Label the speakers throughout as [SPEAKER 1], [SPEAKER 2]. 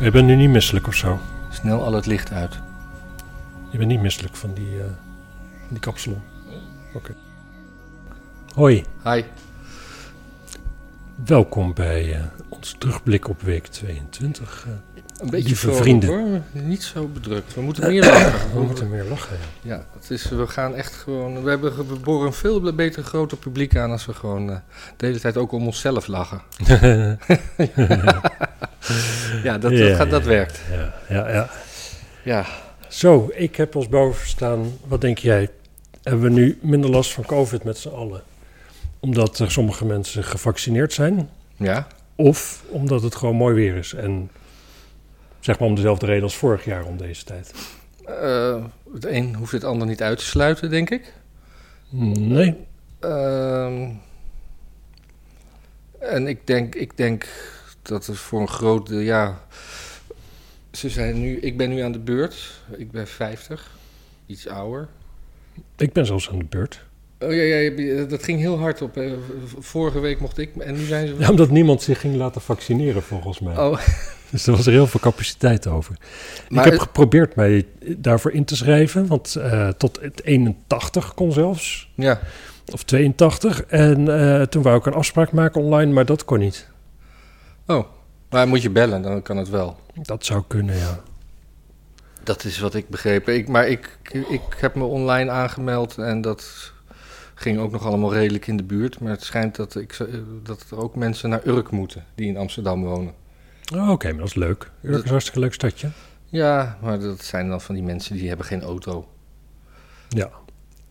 [SPEAKER 1] Je bent nu niet misselijk of zo.
[SPEAKER 2] Snel al het licht uit.
[SPEAKER 1] Je bent niet misselijk van die, eh, van die kapsalon. Oké. Hoi,
[SPEAKER 2] Hi.
[SPEAKER 1] welkom bij eh, ons terugblik op week 22. Eh,
[SPEAKER 2] Een beetje
[SPEAKER 1] Lieve
[SPEAKER 2] vrolijk,
[SPEAKER 1] vrienden.
[SPEAKER 2] Hoor. Niet zo bedrukt. We moeten meer lachen.
[SPEAKER 1] we moeten meer lachen. ja.
[SPEAKER 2] Ja, het is, we gaan echt gewoon... We, hebben, ge- we boren een veel beter groter publiek aan als we gewoon eh, de hele tijd ook om onszelf lachen. Ja, dat,
[SPEAKER 1] Ja,
[SPEAKER 2] dat, gaat, dat
[SPEAKER 1] ja,
[SPEAKER 2] werkt.
[SPEAKER 1] ja, ja, ja.
[SPEAKER 2] Ja,
[SPEAKER 1] Zo, ik heb ons boven staan. Wat denk jij? Hebben we nu minder last van COVID met z'n allen? Omdat er sommige mensen gevaccineerd zijn?
[SPEAKER 2] ja.
[SPEAKER 1] Of omdat het gewoon mooi weer is? En zeg maar om dezelfde reden als vorig jaar om deze tijd.
[SPEAKER 2] Eh, het een hoeft het ander niet uit te sluiten, denk ik.
[SPEAKER 1] Nee,
[SPEAKER 2] Ehm, en ik denk, ik denk dat het voor een groot deel, ja. Ze zijn nu, ik ben nu aan de beurt. Ik ben 50, iets ouder.
[SPEAKER 1] ik ben zelfs aan de beurt.
[SPEAKER 2] Oh ja, ja, ja, dat ging heel hard op. hè. V- Vorige week mocht ik, en nu zijn ze.
[SPEAKER 1] Ja, omdat niemand zich ging laten vaccineren volgens mij.
[SPEAKER 2] Oh,
[SPEAKER 1] Dus er was er heel veel capaciteit over.
[SPEAKER 2] Maar
[SPEAKER 1] ik heb
[SPEAKER 2] het-
[SPEAKER 1] geprobeerd mij daarvoor in te schrijven. Want eh, tot het 81 kon zelfs.
[SPEAKER 2] ja.
[SPEAKER 1] Of 82. En eh, toen wou ik een afspraak maken online, maar dat kon niet.
[SPEAKER 2] Oh, maar moet je bellen, dan kan het wel.
[SPEAKER 1] Dat zou kunnen, ja.
[SPEAKER 2] Dat is wat ik begreep. Ik, maar ik, ik heb me online aangemeld en dat ging ook nog allemaal redelijk in de buurt. Maar het schijnt dat, ik, zo- eh, dat er ook mensen naar Urk moeten die in Amsterdam wonen.
[SPEAKER 1] Oh, Oké, maar dat is leuk. Urk is een hartstikke leuk stadje.
[SPEAKER 2] Ja, maar dat zijn dan van die mensen die hebben geen auto.
[SPEAKER 1] Ja.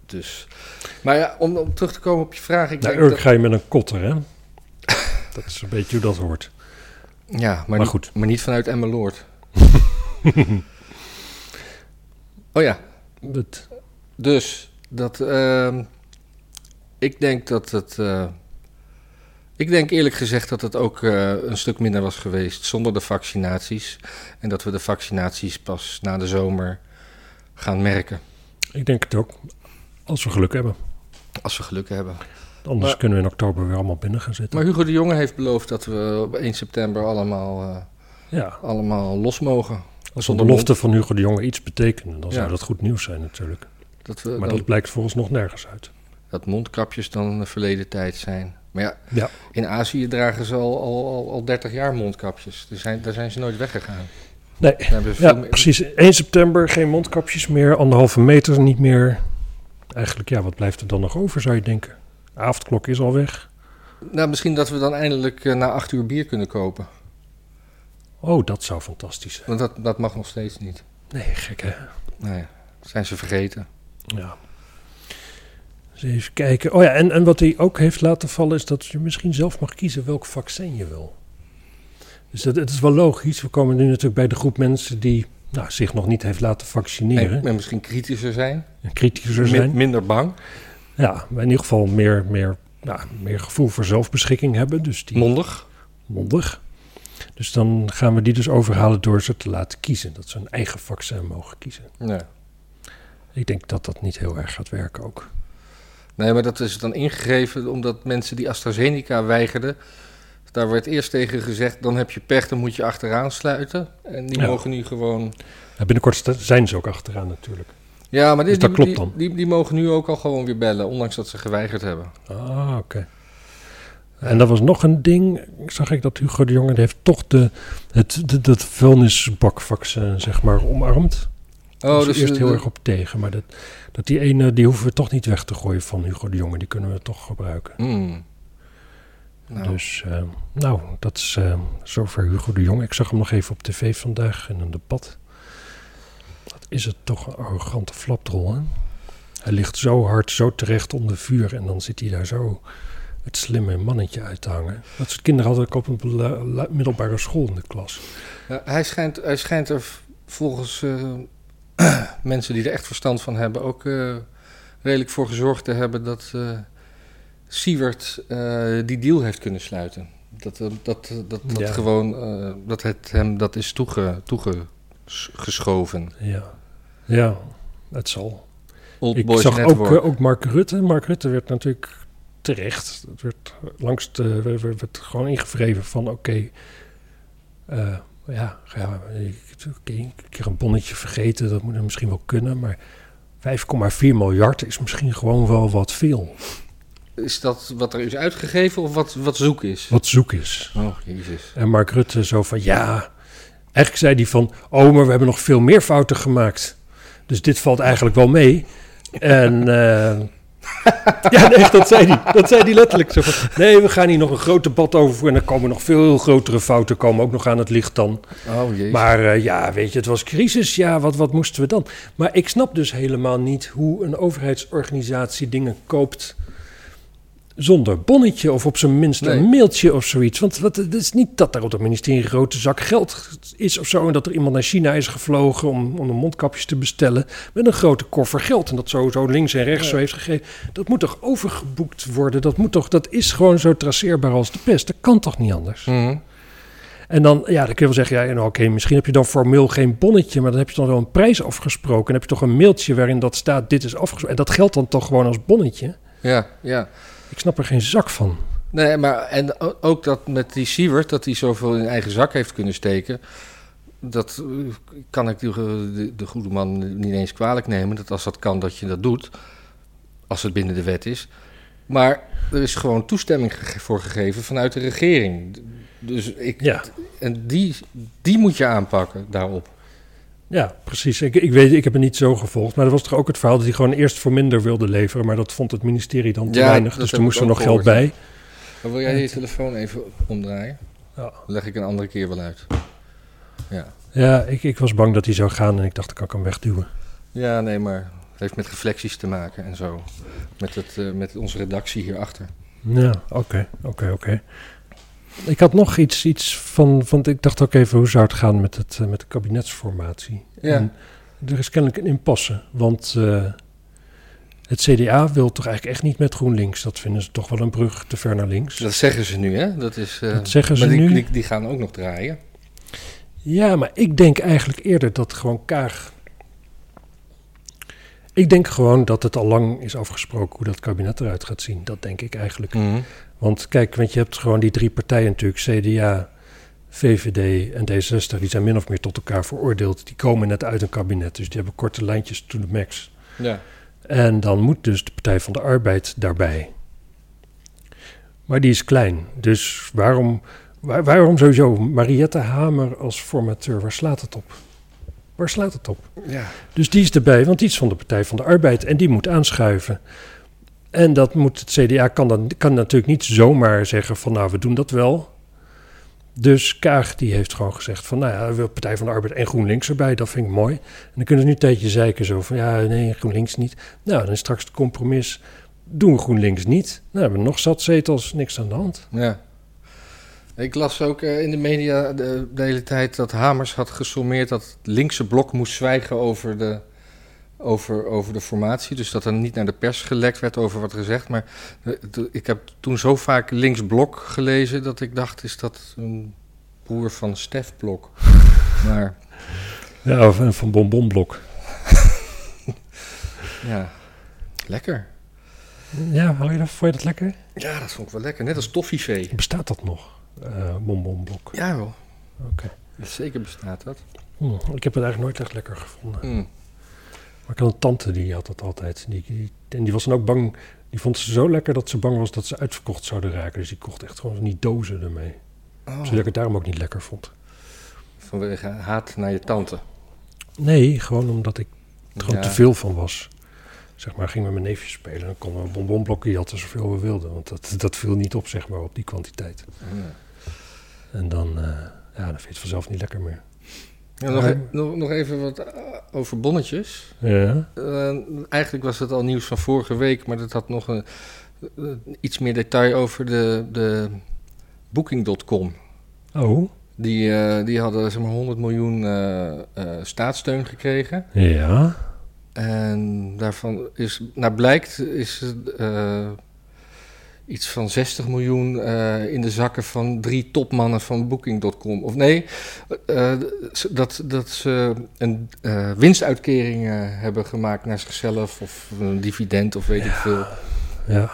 [SPEAKER 2] Dus. Maar ja, om, om terug te komen op je vraag. Ik
[SPEAKER 1] Naar
[SPEAKER 2] denk
[SPEAKER 1] Nou, Urk ga je met een kotter, hè? Dat is een beetje hoe dat hoort.
[SPEAKER 2] dat- ja, maar,
[SPEAKER 1] Maar
[SPEAKER 2] niet,
[SPEAKER 1] goed.
[SPEAKER 2] Maar niet vanuit Emmeloord. oh ja,
[SPEAKER 1] Dat,
[SPEAKER 2] Dus dat. ehm, ik denk dat het. eh, ik denk eerlijk gezegd dat het ook eh, een stuk minder was geweest zonder de vaccinaties. En dat we de vaccinaties pas na de zomer gaan merken.
[SPEAKER 1] ik denk het ook. Als we geluk hebben.
[SPEAKER 2] Als we geluk hebben.
[SPEAKER 1] Anders
[SPEAKER 2] Maar-
[SPEAKER 1] kunnen we in oktober weer allemaal binnen gaan zitten.
[SPEAKER 2] Maar Hugo de Jonge heeft beloofd dat we op 1 september allemaal, eh,
[SPEAKER 1] ja,
[SPEAKER 2] allemaal los mogen.
[SPEAKER 1] als de
[SPEAKER 2] zonder
[SPEAKER 1] belofte van Hugo de Jonge iets betekenen, dan zou
[SPEAKER 2] Ja.
[SPEAKER 1] dat goed nieuws zijn natuurlijk.
[SPEAKER 2] Dat, we
[SPEAKER 1] Maar
[SPEAKER 2] dan-
[SPEAKER 1] dat blijkt volgens nog nergens uit.
[SPEAKER 2] dat mondkapjes dan een verleden tijd zijn. Maar ja,
[SPEAKER 1] Ja.
[SPEAKER 2] in Azië dragen ze al, al, al, al 30 jaar mondkapjes. Daar zijn, daar zijn ze nooit weggegaan.
[SPEAKER 1] Nee,
[SPEAKER 2] Daar hebben ze
[SPEAKER 1] ja,
[SPEAKER 2] veel meer-
[SPEAKER 1] precies. 1 september, geen mondkapjes meer, anderhalve meter niet meer. Eigenlijk, ja, wat blijft er dan nog over, zou je denken? Avondklok is al weg.
[SPEAKER 2] Nou, misschien dat we dan eindelijk eh, na acht uur bier kunnen kopen.
[SPEAKER 1] Oh, dat zou fantastisch zijn.
[SPEAKER 2] Want dat, dat mag nog steeds niet.
[SPEAKER 1] Nee, gek hè?
[SPEAKER 2] Nou ja, zijn ze vergeten.
[SPEAKER 1] Ja. Dus even kijken. Oh ja, en, en wat hij ook heeft laten vallen is dat je misschien zelf mag kiezen welk vaccin je wil. Dus dat, het is wel logisch. We komen nu natuurlijk bij de groep mensen die nou, zich nog niet heeft laten vaccineren.
[SPEAKER 2] En, en misschien kritischer zijn.
[SPEAKER 1] En kritischer
[SPEAKER 2] Min-
[SPEAKER 1] zijn.
[SPEAKER 2] minder bang.
[SPEAKER 1] Ja, maar in ieder geval meer, meer, nou, meer gevoel voor zelfbeschikking hebben. Dus die
[SPEAKER 2] Mondig.
[SPEAKER 1] mondig. Dus dan gaan we die dus overhalen door ze te laten kiezen. Dat ze hun eigen vaccin mogen kiezen.
[SPEAKER 2] Ja.
[SPEAKER 1] Ik denk dat dat niet heel erg gaat werken ook.
[SPEAKER 2] Nee, maar dat is dan ingegeven omdat mensen die AstraZeneca weigerden... daar werd eerst tegen gezegd, dan heb je pech, dan moet je achteraan sluiten. En die
[SPEAKER 1] Ja.
[SPEAKER 2] mogen nu gewoon...
[SPEAKER 1] Ja, binnenkort sta- zijn ze ook achteraan natuurlijk.
[SPEAKER 2] Ja, maar die,
[SPEAKER 1] Dus dat
[SPEAKER 2] die,
[SPEAKER 1] klopt dan.
[SPEAKER 2] Die, die, die mogen nu ook al gewoon weer bellen, ondanks dat ze geweigerd hebben.
[SPEAKER 1] Ah, oké. En dat was nog een ding, zag ik dat Hugo de Jonge die heeft toch de, het, de, dat vuilnisbakvaccin, zeg maar, omarmd. Daar was ik Dus eerst
[SPEAKER 2] Oh, dus de-
[SPEAKER 1] heel
[SPEAKER 2] de-
[SPEAKER 1] erg op tegen, maar dat, dat die ene, die hoeven we toch niet weg te gooien van Hugo de Jonge, die kunnen we toch gebruiken.
[SPEAKER 2] Hmm. Nou,
[SPEAKER 1] Dus, eh, nou, dat is eh, zover Hugo de Jonge. Ik zag hem nog even op tv vandaag in een debat. Dat is het toch een arrogante flapdrol, hè? Hij ligt zo hard, zo terecht onder vuur en dan zit hij daar zo het slimme mannetje uit te hangen. Dat soort kinderen had ik op een bela- la- middelbare school in de klas.
[SPEAKER 2] Ja, hij, schijnt, hij schijnt er v- volgens eh, mensen die er echt verstand van hebben ook eh, redelijk voor gezorgd te hebben dat eh Siewert eh, die deal heeft kunnen sluiten. Dat, eh, dat, dat, dat
[SPEAKER 1] Ja.
[SPEAKER 2] gewoon eh, dat het hem dat is toege, toegeschoven.
[SPEAKER 1] Ja, ja het zal.
[SPEAKER 2] Old
[SPEAKER 1] Ik
[SPEAKER 2] Boys
[SPEAKER 1] zag ook,
[SPEAKER 2] Network.
[SPEAKER 1] eh, ook Mark Rutte. Mark Rutte werd natuurlijk terecht. Het werd langs de, werd, werd- werd gewoon ingevreven van oké, eh, Ja, ja ik, oké, een keer een bonnetje vergeten, dat moet er misschien wel kunnen. Maar 5,4 miljard is misschien gewoon wel wat veel.
[SPEAKER 2] Is dat wat er is uitgegeven of wat, wat zoek is?
[SPEAKER 1] Wat zoek is.
[SPEAKER 2] Oh, jezus.
[SPEAKER 1] En Mark Rutte zo van, ja... Eigenlijk zei hij van, oh, maar we hebben nog veel meer fouten gemaakt. Dus dit valt eigenlijk wel mee. En... eh, ja, nee, dat zei hij. Dat zei hij letterlijk. Zo van, nee, we gaan hier nog een groot debat over voeren. En er komen nog veel grotere fouten komen ook nog aan het licht dan.
[SPEAKER 2] Oh, jezus.
[SPEAKER 1] Maar eh, ja, weet je, het was crisis. Ja, wat, wat moesten we dan? Maar ik snap dus helemaal niet hoe een overheidsorganisatie dingen koopt zonder bonnetje of op zijn minst
[SPEAKER 2] Nee.
[SPEAKER 1] een mailtje of zoiets. Want wat, het is niet dat er op het ministerie een grote zak geld is of zo... en dat er iemand naar China is gevlogen om, om de mondkapjes te bestellen... met een grote koffer geld en dat sowieso links en rechts zo heeft gegeven. Dat moet toch overgeboekt worden? Dat, moet toch, dat is gewoon zo traceerbaar als de pest. Dat kan toch niet anders?
[SPEAKER 2] Mhm.
[SPEAKER 1] En dan, ja, dan kun je wel zeggen, ja, nou, oké, misschien heb je dan formeel geen bonnetje, maar dan heb je dan wel een prijs afgesproken. Dan heb je toch een mailtje waarin dat staat, dit is afgesproken. En dat geldt dan toch gewoon als bonnetje?
[SPEAKER 2] Ja, ja.
[SPEAKER 1] Ik snap er geen zak van.
[SPEAKER 2] Nee, maar en o- ook dat met die Siewert, dat hij zoveel in eigen zak heeft kunnen steken. Dat eh, kan ik die- de, de goede man niet eens kwalijk nemen. Dat als dat kan, dat je dat doet. Als het binnen de wet is. Maar er is gewoon toestemming ge- voor gegeven vanuit de regering. Dus ik.
[SPEAKER 1] Ja,
[SPEAKER 2] En die, die moet je aanpakken daarop.
[SPEAKER 1] ja precies. Ik, ik weet, ik heb het niet zo gevolgd, maar dat was toch ook het verhaal dat hij gewoon eerst voor minder wilde leveren, maar dat vond het ministerie dan te
[SPEAKER 2] Ja,
[SPEAKER 1] weinig,
[SPEAKER 2] dat
[SPEAKER 1] dus
[SPEAKER 2] heb
[SPEAKER 1] er
[SPEAKER 2] ik
[SPEAKER 1] moest er
[SPEAKER 2] ook
[SPEAKER 1] nog geld bij.
[SPEAKER 2] gehoord, Maar wil jij je telefoon even omdraaien?
[SPEAKER 1] Ja.
[SPEAKER 2] Leg ik een andere keer wel uit. Ja.
[SPEAKER 1] Ja, ik, ik was bang dat hij zou gaan en ik dacht, ik kan ik hem wegduwen.
[SPEAKER 2] Ja, nee, maar het heeft met reflecties te maken en zo. Met, het, eh, met onze redactie hierachter.
[SPEAKER 1] Ja, oké, oké, oké. Ik had nog iets, iets van, want ik dacht ook even hoe zou het gaan met, het, eh, met de kabinetsformatie.
[SPEAKER 2] Ja.
[SPEAKER 1] En er is kennelijk een impasse, want eh, het CDA wil toch eigenlijk echt niet met GroenLinks. Dat vinden ze toch wel een brug te ver naar links.
[SPEAKER 2] Dat zeggen ze nu, hè? Dat, is, eh,
[SPEAKER 1] Dat zeggen ze
[SPEAKER 2] maar die,
[SPEAKER 1] nu.
[SPEAKER 2] Die, die gaan ook nog draaien.
[SPEAKER 1] Ja, maar ik denk eigenlijk eerder dat gewoon Kaag... Ik denk gewoon dat het al lang is afgesproken hoe dat kabinet eruit gaat zien. Dat denk ik eigenlijk. Want kijk, want je hebt gewoon die drie partijen natuurlijk, CDA, VVD en D66, die zijn min of meer tot elkaar veroordeeld. Die komen net uit een kabinet, dus die hebben korte lijntjes to the max.
[SPEAKER 2] Ja.
[SPEAKER 1] En dan moet dus de Partij van de Arbeid daarbij. Maar die is klein, dus waarom, waar- waarom sowieso Mariette Hamer als formateur, waar slaat het op? Waar slaat het op?
[SPEAKER 2] ja.
[SPEAKER 1] Dus die is erbij, want die is van de Partij van de Arbeid en die moet aanschuiven. En dat moet het CDA kan, dan, kan natuurlijk niet zomaar zeggen van nou, we doen dat wel. Dus Kaag die heeft gewoon gezegd van nou ja, we willen Partij van de Arbeid en GroenLinks erbij, dat vind ik mooi. En dan kunnen ze nu een tijdje zeiken zo van ja, nee, GroenLinks niet. Nou, dan is straks het compromis, doen we GroenLinks niet. Nou, hebben we nog zat zetels, niks aan de hand.
[SPEAKER 2] ja. Ik las ook eh, in de media de, de hele tijd dat Hamers had gesommeerd dat het linkse blok moest zwijgen over de, over, over de formatie. Dus dat er niet naar de pers gelekt werd over wat gezegd. Maar eh, t- ik heb toen zo vaak links blok gelezen dat ik dacht, is dat een broer van Stef Blok? Maar
[SPEAKER 1] Ja, of een van bonbonblok.
[SPEAKER 2] Ja, lekker.
[SPEAKER 1] Ja, hou je dat, vond je dat lekker?
[SPEAKER 2] Ja, dat vond ik wel lekker. Net als toffifee.
[SPEAKER 1] Bestaat dat nog, eh bonbonblok?
[SPEAKER 2] Ja wel.
[SPEAKER 1] Oké.
[SPEAKER 2] Zeker bestaat dat.
[SPEAKER 1] Hm, ik heb het eigenlijk nooit echt lekker gevonden.
[SPEAKER 2] Hmm.
[SPEAKER 1] Maar ik had een tante die had dat altijd. Die, die- en die was dan ook bang. Die vond ze zo lekker dat ze bang was dat ze uitverkocht zouden raken. Dus die kocht echt gewoon van die dozen ermee.
[SPEAKER 2] Oh.
[SPEAKER 1] Zodat ik het daarom ook niet lekker vond.
[SPEAKER 2] Vanwege haat naar je tante.
[SPEAKER 1] Nee, gewoon omdat ik er gewoon
[SPEAKER 2] Ja.
[SPEAKER 1] te veel van was. Zeg maar, ging met mijn neefje spelen. Dan konden we een bonbonblokje jatten zoveel we wilden. Want dat, dat viel niet op, zeg maar, op die kwantiteit.
[SPEAKER 2] Ja.
[SPEAKER 1] En dan, eh, ja, dan vind je het vanzelf niet lekker meer.
[SPEAKER 2] Ja, nog,
[SPEAKER 1] Maar-
[SPEAKER 2] e- nog, nog even wat eh, over bonnetjes.
[SPEAKER 1] Ja?
[SPEAKER 2] Eh, eigenlijk was het al nieuws van vorige week, maar dat had nog een, eh, iets meer detail over de, de Booking.com.
[SPEAKER 1] Oh?
[SPEAKER 2] Die, eh, die hadden zeg maar 100 miljoen eh, eh, staatssteun gekregen.
[SPEAKER 1] Ja?
[SPEAKER 2] En daarvan is, naar blijkt, is eh, iets van 60 miljoen eh, in de zakken van drie topmannen van Booking.com. Of nee, eh, dat, dat ze een eh, winstuitkering eh, hebben gemaakt naar zichzelf of een dividend of weet ik veel.
[SPEAKER 1] Ja.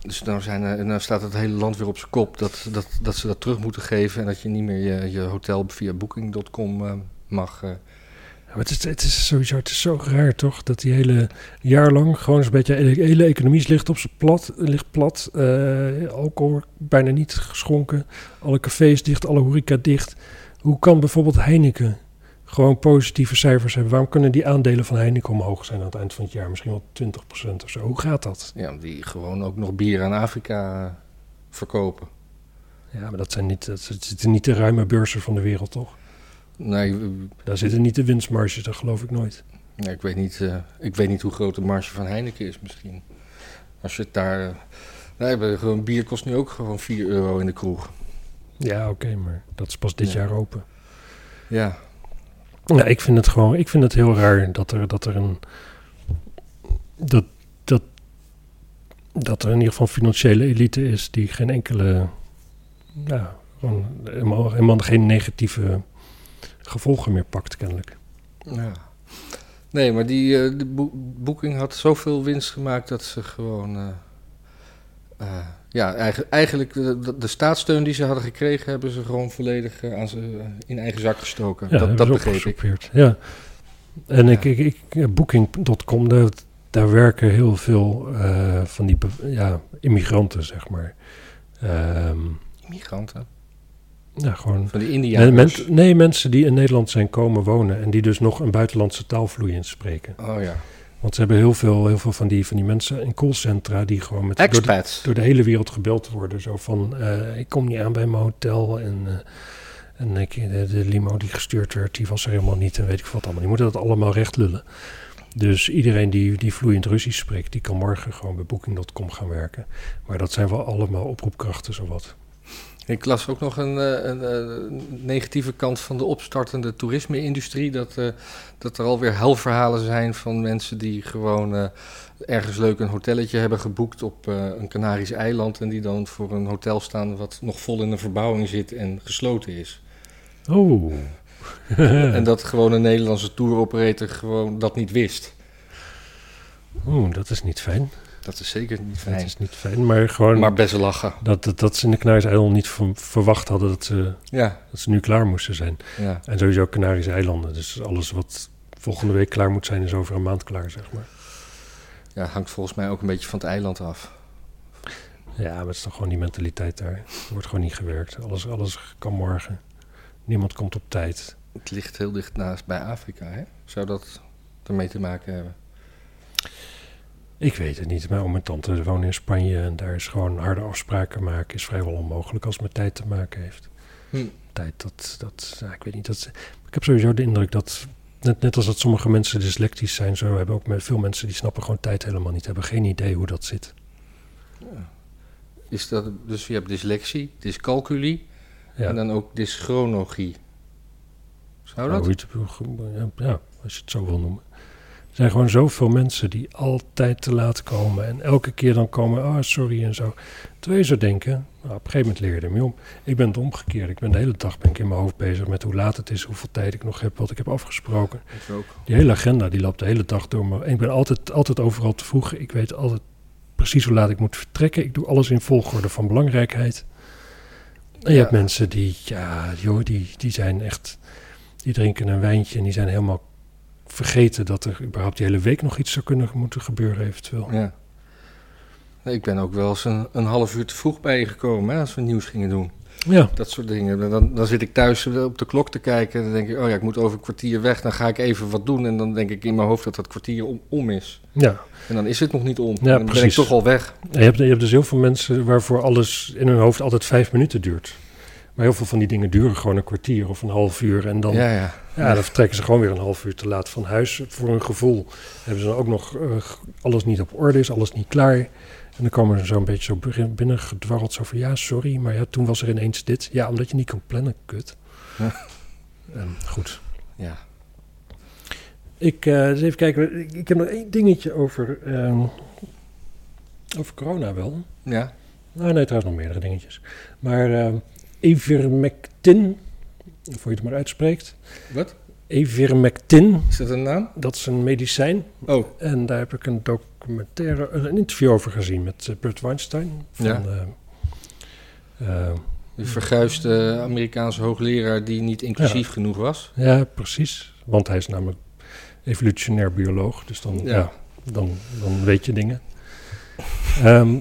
[SPEAKER 2] Dus nou, zijn, er- nou staat het hele land weer op zijn kop dat, dat, dat ze dat terug moeten geven. En dat je niet meer je, je hotel via booking.com eh, mag. eh.
[SPEAKER 1] Ja, maar het, is, het is sowieso het is zo raar, toch? Dat die hele jaar lang gewoon een beetje... De hele economie ligt op zijn plat. Ligt plat eh, alcohol wordt bijna niet geschonken. Alle cafés dicht, alle horeca dicht. Hoe kan bijvoorbeeld Heineken gewoon positieve cijfers hebben? Waarom kunnen die aandelen van Heineken omhoog zijn aan het eind van het jaar? Misschien wel 20% of zo. Hoe gaat dat?
[SPEAKER 2] ja, die gewoon ook nog bier aan Afrika eh, verkopen.
[SPEAKER 1] Ja, maar dat, zijn niet, dat zitten niet de ruime beurzen van de wereld, toch?
[SPEAKER 2] Nee, eh,
[SPEAKER 1] Daar zitten niet de winstmarges, dat geloof ik nooit.
[SPEAKER 2] nee, ik, weet niet, eh, ik weet niet hoe groot de marge van Heineken is misschien. Als je het daar. eh, nee, maar gewoon bier kost nu ook gewoon 4 euro in de kroeg.
[SPEAKER 1] Ja, oké, maar dat is pas dit
[SPEAKER 2] Ja.
[SPEAKER 1] jaar open.
[SPEAKER 2] Ja,
[SPEAKER 1] Nou, ik vind het gewoon, ik vind het heel raar dat er, dat er een, dat, dat, dat er in ieder geval een financiële elite is die geen enkele, ja, gewoon helemaal, helemaal geen negatieve gevolgen meer pakt kennelijk.
[SPEAKER 2] Ja. Nee, maar die eh, de boek- boeking had zoveel winst gemaakt dat ze gewoon. eh, eh, ja, eigen- eigenlijk eh, de, de- de staatssteun die ze hadden gekregen, hebben ze gewoon volledig eh, aan ze, in eigen zak gestoken.
[SPEAKER 1] Ja,
[SPEAKER 2] dat
[SPEAKER 1] hebben
[SPEAKER 2] dat
[SPEAKER 1] ze
[SPEAKER 2] begreep ik.
[SPEAKER 1] opgesoupeerd, Ja. En ik,
[SPEAKER 2] Ja.
[SPEAKER 1] ik, ik ja, Booking.com, daar, daar werken heel veel eh, van die be- ja, immigranten, zeg maar. Ehm
[SPEAKER 2] Migranten.
[SPEAKER 1] ja, gewoon
[SPEAKER 2] Van de
[SPEAKER 1] Nee,
[SPEAKER 2] Indianen.
[SPEAKER 1] mens- nee, mensen die in Nederland zijn komen wonen en die dus nog een buitenlandse taal vloeiend spreken.
[SPEAKER 2] Oh ja.
[SPEAKER 1] Want ze hebben heel veel, heel veel van, die, van die mensen in callcentra die gewoon met door, de,
[SPEAKER 2] Expats.
[SPEAKER 1] door de hele wereld gebeld worden. Zo van, eh, ik kom niet aan bij mijn hotel en, eh, en ik, de, de limo die gestuurd werd, die was er helemaal niet en weet ik wat allemaal. Die moeten dat allemaal recht lullen. Dus iedereen die, die vloeiend Russisch spreekt, die kan morgen gewoon bij Booking.com gaan werken. Maar dat zijn wel allemaal oproepkrachten, zowat.
[SPEAKER 2] Ik las ook nog een, eh, een, eh, negatieve kant van de opstartende toerisme-industrie. Dat, eh, dat er alweer helverhalen zijn van mensen die gewoon eh, ergens leuk een hotelletje hebben geboekt op eh, een Canarisch eiland. En die dan voor een hotel staan wat nog vol in een verbouwing zit en gesloten is.
[SPEAKER 1] Oh.
[SPEAKER 2] En dat gewoon een Nederlandse tour-operator gewoon dat niet wist.
[SPEAKER 1] Oeh, dat is niet fijn.
[SPEAKER 2] Dat is zeker niet
[SPEAKER 1] Dat
[SPEAKER 2] fijn.
[SPEAKER 1] is niet fijn, maar gewoon
[SPEAKER 2] Maar best lachen.
[SPEAKER 1] dat, dat, dat ze in de Canarische eilanden niet ver- verwacht hadden dat ze,
[SPEAKER 2] Ja,
[SPEAKER 1] dat ze nu klaar moesten zijn.
[SPEAKER 2] ja.
[SPEAKER 1] En sowieso Canarische eilanden, dus alles wat volgende week klaar moet zijn is over een maand klaar, zeg maar.
[SPEAKER 2] ja, hangt volgens mij ook een beetje van het eiland af.
[SPEAKER 1] Ja, maar het is toch gewoon die mentaliteit daar. Er wordt gewoon niet gewerkt. Alles, alles kan morgen. Niemand komt op tijd.
[SPEAKER 2] Het ligt heel dicht naast bij Afrika, hè? Zou dat ermee te maken hebben?
[SPEAKER 1] Ik weet het niet. Mijn oom en tante wonen in Spanje en daar is gewoon harde afspraken maken is vrijwel onmogelijk als het met tijd te maken heeft.
[SPEAKER 2] Hm.
[SPEAKER 1] Tijd dat, dat ja, ik weet niet. Dat, ik heb sowieso de indruk dat, net, net als dat sommige mensen dyslectisch zijn, zo hebben ook met veel mensen die snappen gewoon tijd helemaal niet, hebben geen idee hoe dat zit.
[SPEAKER 2] Is dat, dus je hebt dyslexie, dyscalculie
[SPEAKER 1] Ja.
[SPEAKER 2] en dan ook dyschronologie. Zou
[SPEAKER 1] Nou,
[SPEAKER 2] dat?
[SPEAKER 1] hoe je het- ja, als je het zo wil noemen. Er zijn gewoon zoveel mensen die altijd te laat komen. En elke keer dan komen, ah, sorry en zo. Terwijl je zou denken, nou, op een gegeven moment leer je ermee om. Ik ben het omgekeerd. Ik ben de hele dag ben ik in mijn hoofd bezig met hoe laat het is, hoeveel tijd ik nog heb, wat ik heb afgesproken.
[SPEAKER 2] Ik ook.
[SPEAKER 1] Die hele agenda die loopt de hele dag door me. En ik ben altijd, altijd overal te vroeg. Ik weet altijd precies hoe laat ik moet vertrekken. Ik doe alles in volgorde van belangrijkheid. En je
[SPEAKER 2] Ja.
[SPEAKER 1] hebt mensen die, ja, joh, die, die zijn echt... Die drinken een wijntje en die zijn helemaal vergeten... dat er überhaupt die hele week nog iets zou kunnen moeten gebeuren eventueel.
[SPEAKER 2] Ja. Nee, Ik ben ook wel eens een, een half uur te vroeg bij je gekomen hè, als we nieuws gingen doen.
[SPEAKER 1] Ja,
[SPEAKER 2] Dat soort dingen. Dan, dan zit ik thuis eh, op de klok te kijken en dan denk ik, oh ja, ik moet over een kwartier weg. Dan ga ik even wat doen en dan denk ik in mijn hoofd dat dat kwartier om, om is.
[SPEAKER 1] ja.
[SPEAKER 2] En dan is het nog niet om.
[SPEAKER 1] Ja,
[SPEAKER 2] dan ben ik
[SPEAKER 1] precies.
[SPEAKER 2] toch al weg.
[SPEAKER 1] En Je, hebt, je hebt dus heel veel mensen waarvoor alles in hun hoofd altijd vijf minuten duurt. Maar heel veel van die dingen duren gewoon een kwartier of een half uur. En dan
[SPEAKER 2] Ja, ja.
[SPEAKER 1] Ja, dan vertrekken ze gewoon weer een half uur te laat van huis. Voor hun gevoel hebben ze dan ook nog eh, g- alles niet op orde, is alles niet klaar. En dan komen ze zo een beetje zo begin- binnen gedwarreld zo van... ja, sorry, maar ja, toen was er ineens dit. Ja, omdat je niet kon plannen, kut.
[SPEAKER 2] Ja.
[SPEAKER 1] Ehm, goed.
[SPEAKER 2] ja.
[SPEAKER 1] Ik, eh, eens even kijken, ik, ik heb nog één dingetje over, ehm, over corona wel.
[SPEAKER 2] ja.
[SPEAKER 1] Nou, nee, trouwens nog meerdere dingetjes. Maar ehm ivermectin, of hoe je het maar uitspreekt.
[SPEAKER 2] Wat?
[SPEAKER 1] Ivermectin,
[SPEAKER 2] Is dat een naam?
[SPEAKER 1] dat is een medicijn...
[SPEAKER 2] Oh,
[SPEAKER 1] En daar heb ik een doc- documentaire, een interview over gezien met eh, Bert Weinstein. Van,
[SPEAKER 2] Ja.
[SPEAKER 1] eh, eh,
[SPEAKER 2] Die verguisde Amerikaanse hoogleraar die niet inclusief genoeg was.
[SPEAKER 1] ja, precies. Want hij is namelijk evolutionair bioloog. Dus dan,
[SPEAKER 2] Ja.
[SPEAKER 1] ja. dan, dan weet je dingen. Ehm,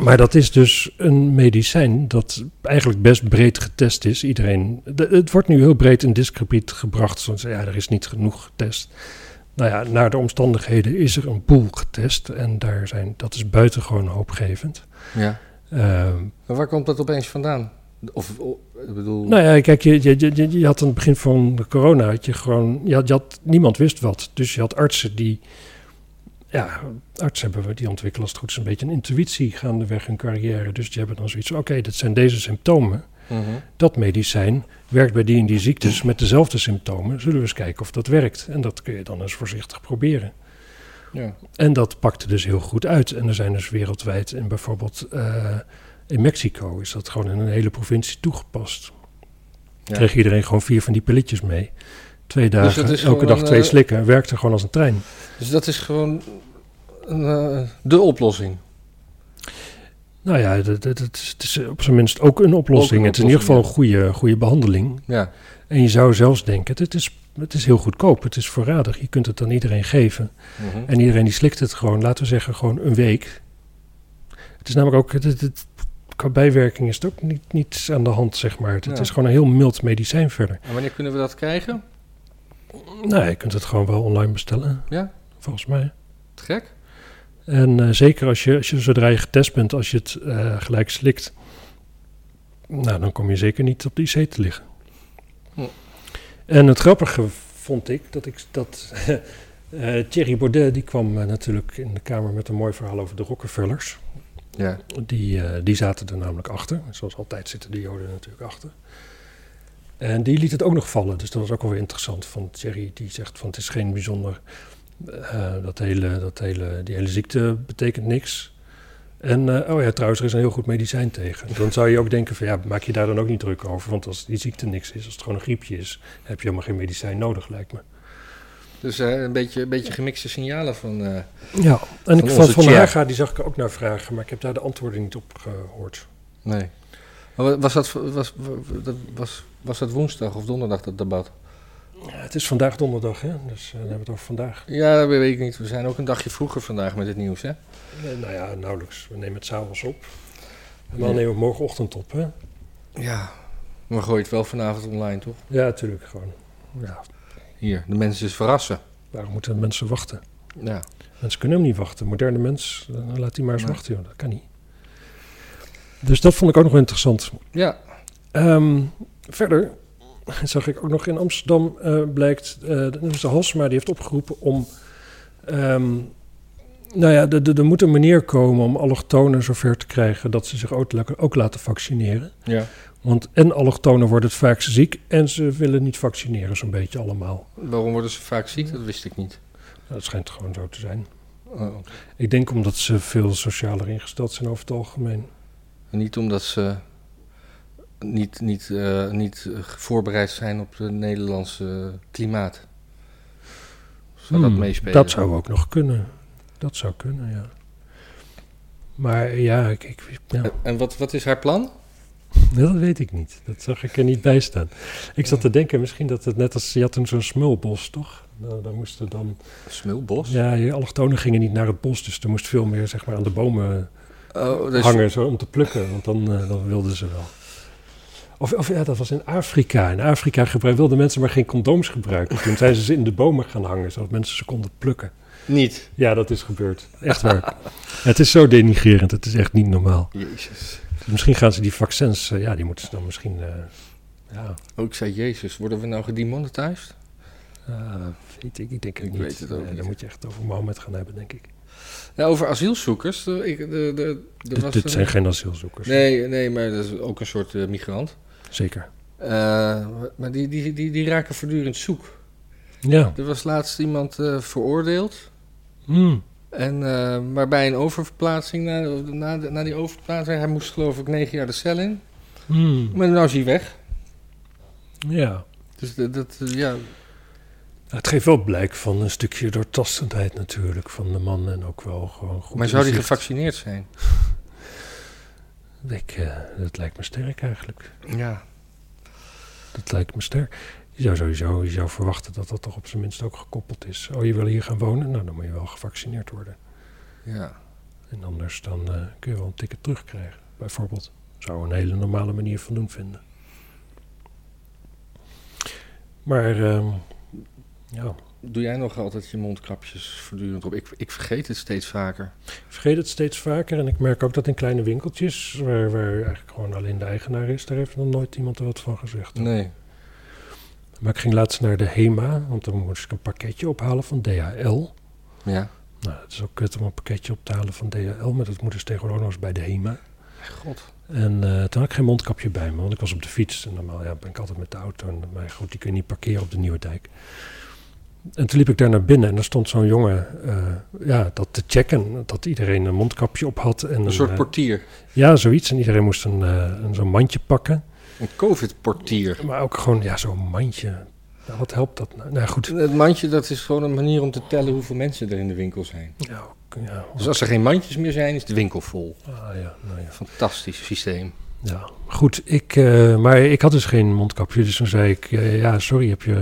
[SPEAKER 1] maar dat is dus een medicijn dat eigenlijk best breed getest is. Iedereen, de- het wordt nu heel breed in discrepiet gebracht. Zoals, ja, er is niet genoeg getest. Nou ja, naar de omstandigheden is er een pool getest. En daar zijn, dat is buitengewoon hoopgevend.
[SPEAKER 2] Ja.
[SPEAKER 1] Ehm,
[SPEAKER 2] Maar waar komt dat opeens vandaan? Of, of- ik bedoel...
[SPEAKER 1] Nou ja, kijk, je, je, je, je had aan het begin van de corona, had je gewoon, je had, je had- niemand wist wat. Dus je had artsen die, ja, artsen hebben we, die ontwikkelen als het goed is een beetje een intuïtie gaandeweg hun carrière. Dus die hebben dan zoiets van, oké, dit zijn deze symptomen.
[SPEAKER 2] Mhm.
[SPEAKER 1] Dat medicijn werkt bij die en die ziektes met dezelfde symptomen. Zullen we eens kijken of dat werkt. En dat kun je dan eens voorzichtig proberen.
[SPEAKER 2] ja.
[SPEAKER 1] En dat pakte dus heel goed uit. En er zijn dus wereldwijd, en bijvoorbeeld eh, in Mexico is dat gewoon in een hele provincie toegepast.
[SPEAKER 2] Ja. Dus
[SPEAKER 1] Kreeg iedereen gewoon vier van die pilletjes mee. Twee dagen,
[SPEAKER 2] dat is
[SPEAKER 1] elke
[SPEAKER 2] gewoon,
[SPEAKER 1] dag twee
[SPEAKER 2] eh,
[SPEAKER 1] slikken. Werkte gewoon als een trein.
[SPEAKER 2] Dus dat is gewoon een, eh, de oplossing.
[SPEAKER 1] Nou ja, dat- dat- dat is- het is eh, op zijn minst ook een oplossing.
[SPEAKER 2] Ook een
[SPEAKER 1] het is in ieder geval een
[SPEAKER 2] oplossing,
[SPEAKER 1] goede, goede behandeling.
[SPEAKER 2] Ja.
[SPEAKER 1] En je zou zelfs denken, het is, het is heel goedkoop. Het is voorradig. Je kunt het aan iedereen geven.
[SPEAKER 2] Mhm.
[SPEAKER 1] En iedereen die slikt het gewoon, laten we zeggen, gewoon een week. Het is namelijk ook, het, het, het- qua bijwerking is het ook niet, niets aan de hand, zeg maar. Het
[SPEAKER 2] Ja.
[SPEAKER 1] is gewoon een heel mild medicijn verder.
[SPEAKER 2] En wanneer kunnen we dat krijgen?
[SPEAKER 1] Nou, je kunt het gewoon wel online bestellen,
[SPEAKER 2] Ja,
[SPEAKER 1] volgens mij.
[SPEAKER 2] te gek.
[SPEAKER 1] En eh, zeker als je, als je, zodra je getest bent, als je het eh, gelijk slikt, nou, dan kom je zeker niet op de IC te liggen.
[SPEAKER 2] Hm.
[SPEAKER 1] En het grappige vond ik dat ik dat. eh, Thierry Baudet die kwam eh, natuurlijk in de Kamer met een mooi verhaal over de Rockefellers.
[SPEAKER 2] Ja.
[SPEAKER 1] Die, eh, die zaten er namelijk achter. Zoals altijd zitten de Joden er natuurlijk achter. En die liet het ook nog vallen. Dus dat was ook wel weer interessant. Van Thierry die zegt van het is geen bijzonder... eh, dat hele, dat hele, die hele ziekte betekent niks. En eh, oh ja, trouwens, er is een heel goed medicijn tegen. Dan zou je ook denken van ja, maak je daar dan ook niet druk over. Want als die ziekte niks is, als het gewoon een griepje is... heb je helemaal geen medicijn nodig, lijkt me.
[SPEAKER 2] Dus eh, een, beetje, een beetje gemixte signalen van... eh,
[SPEAKER 1] Ja, en ik,
[SPEAKER 2] Van
[SPEAKER 1] van
[SPEAKER 2] onze
[SPEAKER 1] Van
[SPEAKER 2] Thierry.
[SPEAKER 1] Haga, die zag ik er ook naar vragen. Maar ik heb daar de antwoorden niet op gehoord.
[SPEAKER 2] nee. Maar wa- was dat, was, wa- dat- was, was dat woensdag of donderdag, dat debat?
[SPEAKER 1] Ja, het is vandaag donderdag, hè? dus eh, dan hebben we het over vandaag.
[SPEAKER 2] Ja, dat weet ik niet. We zijn ook een dagje vroeger vandaag met het nieuws, hè?
[SPEAKER 1] Nee, nou ja, nauwelijks. We nemen het s'avonds op. Normaal
[SPEAKER 2] Ja.
[SPEAKER 1] nemen we morgenochtend op, hè?
[SPEAKER 2] Ja. Maar gooi het wel vanavond online, toch?
[SPEAKER 1] Ja, natuurlijk gewoon. Ja,
[SPEAKER 2] Hier, de mensen is verrassen.
[SPEAKER 1] waarom moeten mensen wachten?
[SPEAKER 2] Ja.
[SPEAKER 1] Mensen kunnen hem niet wachten. Moderne mens, eh, laat die maar eens
[SPEAKER 2] Nee.
[SPEAKER 1] wachten, joh. dat kan niet. Dus dat vond ik ook nog interessant.
[SPEAKER 2] Ja.
[SPEAKER 1] Ehm, verder zag ik ook nog in Amsterdam eh, blijkt, eh dat is de Halsema die heeft opgeroepen om, ehm, nou ja, de- de- er moet een manier komen om allochtonen zover te krijgen dat ze zich ook, ook laten vaccineren.
[SPEAKER 2] Ja.
[SPEAKER 1] Want en allochtonen worden het vaakst ziek en ze willen niet vaccineren zo'n beetje allemaal. Nou,
[SPEAKER 2] Waarom worden ze vaak ziek? Dat wist ik niet.
[SPEAKER 1] Dat schijnt gewoon zo te zijn.
[SPEAKER 2] Oh.
[SPEAKER 1] Ik denk omdat ze veel socialer ingesteld zijn over het algemeen.
[SPEAKER 2] Niet omdat ze niet, niet, eh, niet eh, voorbereid zijn op het Nederlandse klimaat. Zou dat
[SPEAKER 1] Hmm,
[SPEAKER 2] meespelen?
[SPEAKER 1] Dat zou ook nog kunnen. Dat zou kunnen, ja. Maar ja, ik, ik, ja,
[SPEAKER 2] En- En wat, wat is haar plan?
[SPEAKER 1] Nou, dat weet ik niet. Dat zag ik er niet bij staan. Ik zat te denken, misschien dat het net als... Je had toen zo'n smulbos, toch? Nou, daar moesten dan...
[SPEAKER 2] Smulbos?
[SPEAKER 1] Ja, je allochtonen gingen niet naar het bos, dus er moest veel meer zeg maar, aan de bomen
[SPEAKER 2] Oh, dus,
[SPEAKER 1] hangen zo, om te plukken, want dan, eh, dan wilden ze wel. Of, of ja, dat was in Afrika. In Afrika gebruik, wilden mensen maar geen condooms gebruiken. Toen zijn ze ze in de bomen gaan hangen, zodat mensen ze konden plukken.
[SPEAKER 2] Niet.
[SPEAKER 1] Ja, dat is gebeurd. Echt waar. het is zo denigrerend, het is echt niet normaal.
[SPEAKER 2] Jezus.
[SPEAKER 1] Misschien gaan ze die vaccins, eh, ja, die moeten ze dan misschien... eh, ja,
[SPEAKER 2] Oh, ik zei Jezus. Worden we nou gedemonetized?
[SPEAKER 1] eh, weet ik, ik denk het
[SPEAKER 2] Ah. Ik
[SPEAKER 1] niet.
[SPEAKER 2] weet het ook
[SPEAKER 1] Nee,
[SPEAKER 2] niet.
[SPEAKER 1] Daar moet je echt over Mohammed gaan hebben, denk ik.
[SPEAKER 2] Nou, over asielzoekers. eh, Ik, de, de, er
[SPEAKER 1] Dit,
[SPEAKER 2] was
[SPEAKER 1] dit
[SPEAKER 2] een-
[SPEAKER 1] zijn geen asielzoekers.
[SPEAKER 2] Nee, nee, maar dat is ook een soort eh, migrant.
[SPEAKER 1] Zeker.
[SPEAKER 2] Eh, maar die, die, die, die raken voortdurend zoek.
[SPEAKER 1] Ja.
[SPEAKER 2] Er was laatst iemand eh, veroordeeld.
[SPEAKER 1] Mm.
[SPEAKER 2] En, eh, maar bij een oververplaatsing, na, na, na die oververplaatsing, hij moest geloof ik negen jaar de cel in.
[SPEAKER 1] Mm.
[SPEAKER 2] Maar nu is hij weg.
[SPEAKER 1] Ja.
[SPEAKER 2] Dus dat, dat, eh, ja,
[SPEAKER 1] Nou, Het geeft wel blijk van een stukje doortastendheid natuurlijk van de man en ook wel gewoon goed.
[SPEAKER 2] maar zou die
[SPEAKER 1] inzicht.
[SPEAKER 2] gevaccineerd zijn?
[SPEAKER 1] Ik, eh, dat lijkt me sterk eigenlijk.
[SPEAKER 2] Ja.
[SPEAKER 1] Dat lijkt me sterk. Je zou sowieso je zou verwachten dat dat toch op zijn minst ook gekoppeld is. Oh, je wil hier gaan wonen? Nou, dan moet je wel gevaccineerd worden.
[SPEAKER 2] ja.
[SPEAKER 1] En anders dan eh, kun je wel een ticket terugkrijgen, bijvoorbeeld. Zou een hele normale manier van doen vinden. Maar, ehm, ja,
[SPEAKER 2] Doe jij nog altijd je mondkapjes voortdurend op? Ik, ik vergeet het steeds vaker.
[SPEAKER 1] ik vergeet het steeds vaker. En ik merk ook dat in kleine winkeltjes, waar, waar eigenlijk gewoon alleen de eigenaar is, daar heeft nog nooit iemand er wat van gezegd.
[SPEAKER 2] Nee.
[SPEAKER 1] Maar ik ging laatst naar de HEMA, want dan moest ik een pakketje ophalen van DHL.
[SPEAKER 2] Ja.
[SPEAKER 1] Nou, het is ook kut om een pakketje op te halen van DHL, maar dat moet dus tegenwoordig nog eens bij de HEMA.
[SPEAKER 2] God.
[SPEAKER 1] En eh, toen had ik geen mondkapje bij me, want ik was op de fiets. En normaal ja, ben ik altijd met de auto. En, maar goed, die kun je niet parkeren op de Nieuwe Dijk. En toen liep ik daar naar binnen en daar stond zo'n jongen eh, ja, dat te checken. Dat iedereen een mondkapje op had. En
[SPEAKER 2] Een soort
[SPEAKER 1] eh,
[SPEAKER 2] portier.
[SPEAKER 1] Ja, zoiets. En iedereen moest een, eh, een, zo'n mandje pakken.
[SPEAKER 2] Een covid-portier.
[SPEAKER 1] Maar ook gewoon, ja, zo'n mandje. Nou, wat helpt dat nou? Nou goed,
[SPEAKER 2] Het mandje, dat is gewoon een manier om te tellen hoeveel mensen er in de winkel zijn.
[SPEAKER 1] ja, ook- ja,
[SPEAKER 2] Dus als er geen mandjes meer zijn, is de winkel vol.
[SPEAKER 1] ah, ja, nou ja.
[SPEAKER 2] Fantastisch systeem.
[SPEAKER 1] Ja, goed. Ik, eh, maar ik had dus geen mondkapje. Dus toen zei ik, eh, ja, sorry, heb, je,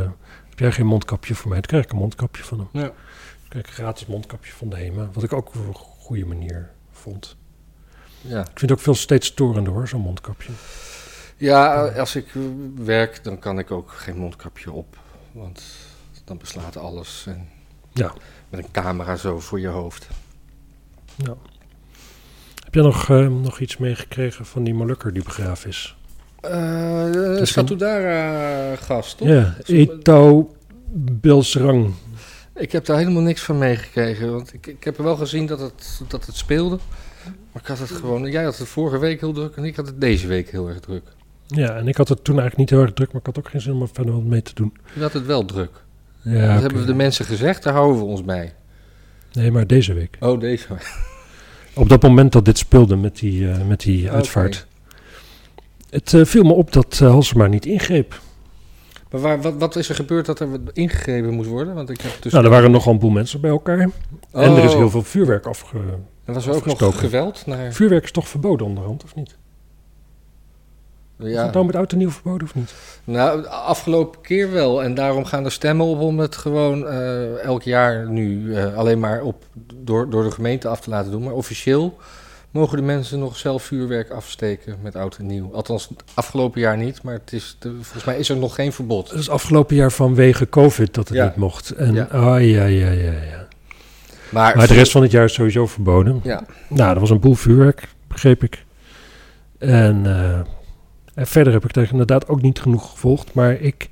[SPEAKER 1] heb jij geen mondkapje voor mij? Dan krijg ik een mondkapje van hem.
[SPEAKER 2] Ja.
[SPEAKER 1] Dan krijg ik een gratis mondkapje van de HEMA. Wat ik ook een goede manier vond.
[SPEAKER 2] Ja.
[SPEAKER 1] Ik vind het ook veel steeds storender hoor, zo'n mondkapje.
[SPEAKER 2] ja, als ik eh, werk, dan kan ik ook geen mondkapje op. Want dan beslaat alles. En
[SPEAKER 1] Ja.
[SPEAKER 2] Met een camera zo voor je hoofd.
[SPEAKER 1] Heb jij nog, eh, nog iets meegekregen van die Molukker die begraven is?
[SPEAKER 2] Eh
[SPEAKER 1] is een-
[SPEAKER 2] Satudara-gast, toch?
[SPEAKER 1] Ja, Eto Bilsrang.
[SPEAKER 2] Ik heb daar helemaal niks van meegekregen. Want ik, ik heb er wel gezien dat het, dat het speelde. Maar ik had het gewoon... Jij had het vorige week heel druk en ik had het deze week heel erg druk.
[SPEAKER 1] Ja, en ik had het toen eigenlijk niet heel erg druk, maar ik had ook geen zin om er verder wat mee te doen.
[SPEAKER 2] Je had het wel druk.
[SPEAKER 1] Ja,
[SPEAKER 2] dat
[SPEAKER 1] oké.
[SPEAKER 2] hebben we de mensen gezegd, daar houden we ons bij.
[SPEAKER 1] Nee, maar deze week.
[SPEAKER 2] Oh, deze.
[SPEAKER 1] Op dat moment dat dit speelde met die, eh, met die
[SPEAKER 2] Oké.
[SPEAKER 1] uitvaart. Het eh, viel me op dat eh, Halsema niet ingreep.
[SPEAKER 2] Dus- Maar waar, wat, wat is er gebeurd dat er ingegrepen moest worden? Want ik heb dus...
[SPEAKER 1] Nou, er waren nogal een boel mensen bij elkaar. En er is
[SPEAKER 2] Oh,
[SPEAKER 1] heel veel vuurwerk afge...
[SPEAKER 2] Er was ook nog
[SPEAKER 1] afgestoken.
[SPEAKER 2] geweld naar...
[SPEAKER 1] Vuurwerk is toch verboden onderhand, of niet? Is
[SPEAKER 2] Ja.
[SPEAKER 1] het nou met oud en nieuw verboden, of niet?
[SPEAKER 2] Nou, afgelopen keer wel. En daarom gaan er stemmen op om het gewoon eh, elk jaar nu eh, alleen maar op, door, door de gemeente af te laten doen. Maar officieel mogen de mensen nog zelf vuurwerk afsteken met oud en nieuw. Althans, afgelopen jaar niet, maar het is de- volgens mij is er nog geen verbod.
[SPEAKER 1] Dat is afgelopen jaar vanwege COVID dat het
[SPEAKER 2] Ja.
[SPEAKER 1] niet mocht. En,
[SPEAKER 2] Ja.
[SPEAKER 1] Ah, ja, ja, ja, ja.
[SPEAKER 2] Maar,
[SPEAKER 1] Maar de rest van het jaar is sowieso verboden.
[SPEAKER 2] Ja,
[SPEAKER 1] Nou, er was een boel vuurwerk, begreep ik. En, eh, en verder heb ik daar inderdaad ook niet genoeg gevolgd. Maar ik,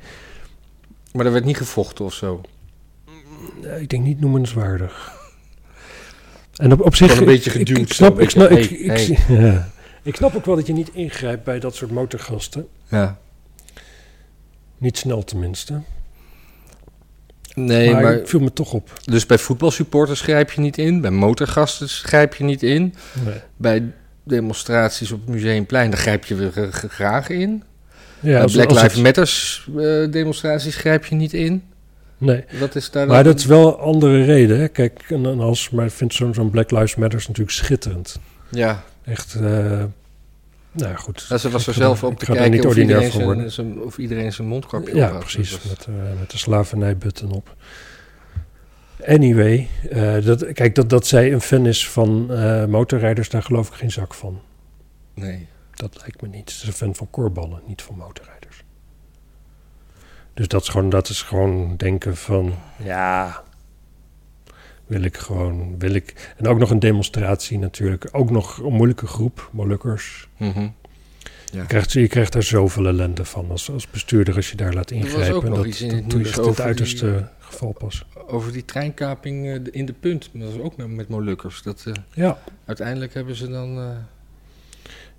[SPEAKER 2] maar er werd niet gevochten of zo.
[SPEAKER 1] Nee, eh, ik denk niet noemenswaardig. En op, op zich...
[SPEAKER 2] Gewoon een beetje
[SPEAKER 1] ik- ik-
[SPEAKER 2] geduwd
[SPEAKER 1] Ik, snap,
[SPEAKER 2] zo,
[SPEAKER 1] ik, snap,
[SPEAKER 2] beetje,
[SPEAKER 1] ik, ik,
[SPEAKER 2] hey,
[SPEAKER 1] ja. ik snap ook wel dat je niet ingrijpt bij dat soort motorgasten.
[SPEAKER 2] Ja.
[SPEAKER 1] Niet snel tenminste.
[SPEAKER 2] Nee,
[SPEAKER 1] maar,
[SPEAKER 2] maar,
[SPEAKER 1] het viel me toch op.
[SPEAKER 2] dus bij voetbalsupporters grijp je niet in. Bij motorgasten grijp je niet in. Bij demonstraties op het museumplein, daar grijp je weer eh, graag in.
[SPEAKER 1] Ja,
[SPEAKER 2] Bij
[SPEAKER 1] als-
[SPEAKER 2] Black
[SPEAKER 1] als
[SPEAKER 2] Lives
[SPEAKER 1] het-
[SPEAKER 2] Matters eh, demonstraties grijp je niet in.
[SPEAKER 1] Nee,
[SPEAKER 2] Dat is daar
[SPEAKER 1] maar
[SPEAKER 2] dan-
[SPEAKER 1] dat is wel een andere reden. Hè. Kijk, en, en als, maar ik vind zo'n zo'n Black Lives Matters natuurlijk schitterend.
[SPEAKER 2] Ja,
[SPEAKER 1] Echt, eh nou goed.
[SPEAKER 2] ze was er
[SPEAKER 1] ga-
[SPEAKER 2] zelf op
[SPEAKER 1] ik
[SPEAKER 2] te
[SPEAKER 1] ga daar
[SPEAKER 2] kijken
[SPEAKER 1] niet
[SPEAKER 2] of
[SPEAKER 1] ordinair
[SPEAKER 2] iedereen,
[SPEAKER 1] van
[SPEAKER 2] zijn,
[SPEAKER 1] worden.
[SPEAKER 2] zijn- of iedereen zijn mondkapje op
[SPEAKER 1] Ja,
[SPEAKER 2] had. Dus
[SPEAKER 1] precies.
[SPEAKER 2] Dat was-
[SPEAKER 1] Met, eh, met de slavernijbutton op. Anyway, eh, dat, kijk, dat, dat zij een fan is van eh, motorrijders, daar geloof ik geen zak van.
[SPEAKER 2] nee.
[SPEAKER 1] Dat lijkt me niet. Ze is een fan van korballen, niet van motorrijders. Dus dat is gewoon, dat is gewoon denken van, ja, wil ik gewoon, wil ik... En ook nog een demonstratie natuurlijk. Ook nog een moeilijke groep, Molukkers.
[SPEAKER 2] Mhm.
[SPEAKER 1] Je krijgt, je krijgt daar zoveel ellende van als, als bestuurder als je daar laat
[SPEAKER 2] was ook
[SPEAKER 1] ingrijpen. En
[SPEAKER 2] nog
[SPEAKER 1] dat,
[SPEAKER 2] iets in
[SPEAKER 1] dat
[SPEAKER 2] het
[SPEAKER 1] doe je
[SPEAKER 2] nieuws
[SPEAKER 1] echt in het
[SPEAKER 2] over die, eh,
[SPEAKER 1] uiterste geval pas.
[SPEAKER 2] Over die treinkaping eh, de- in de punt. Dat was ook met, met Molukkers. Dat, eh,
[SPEAKER 1] Ja.
[SPEAKER 2] uiteindelijk hebben ze dan... eh,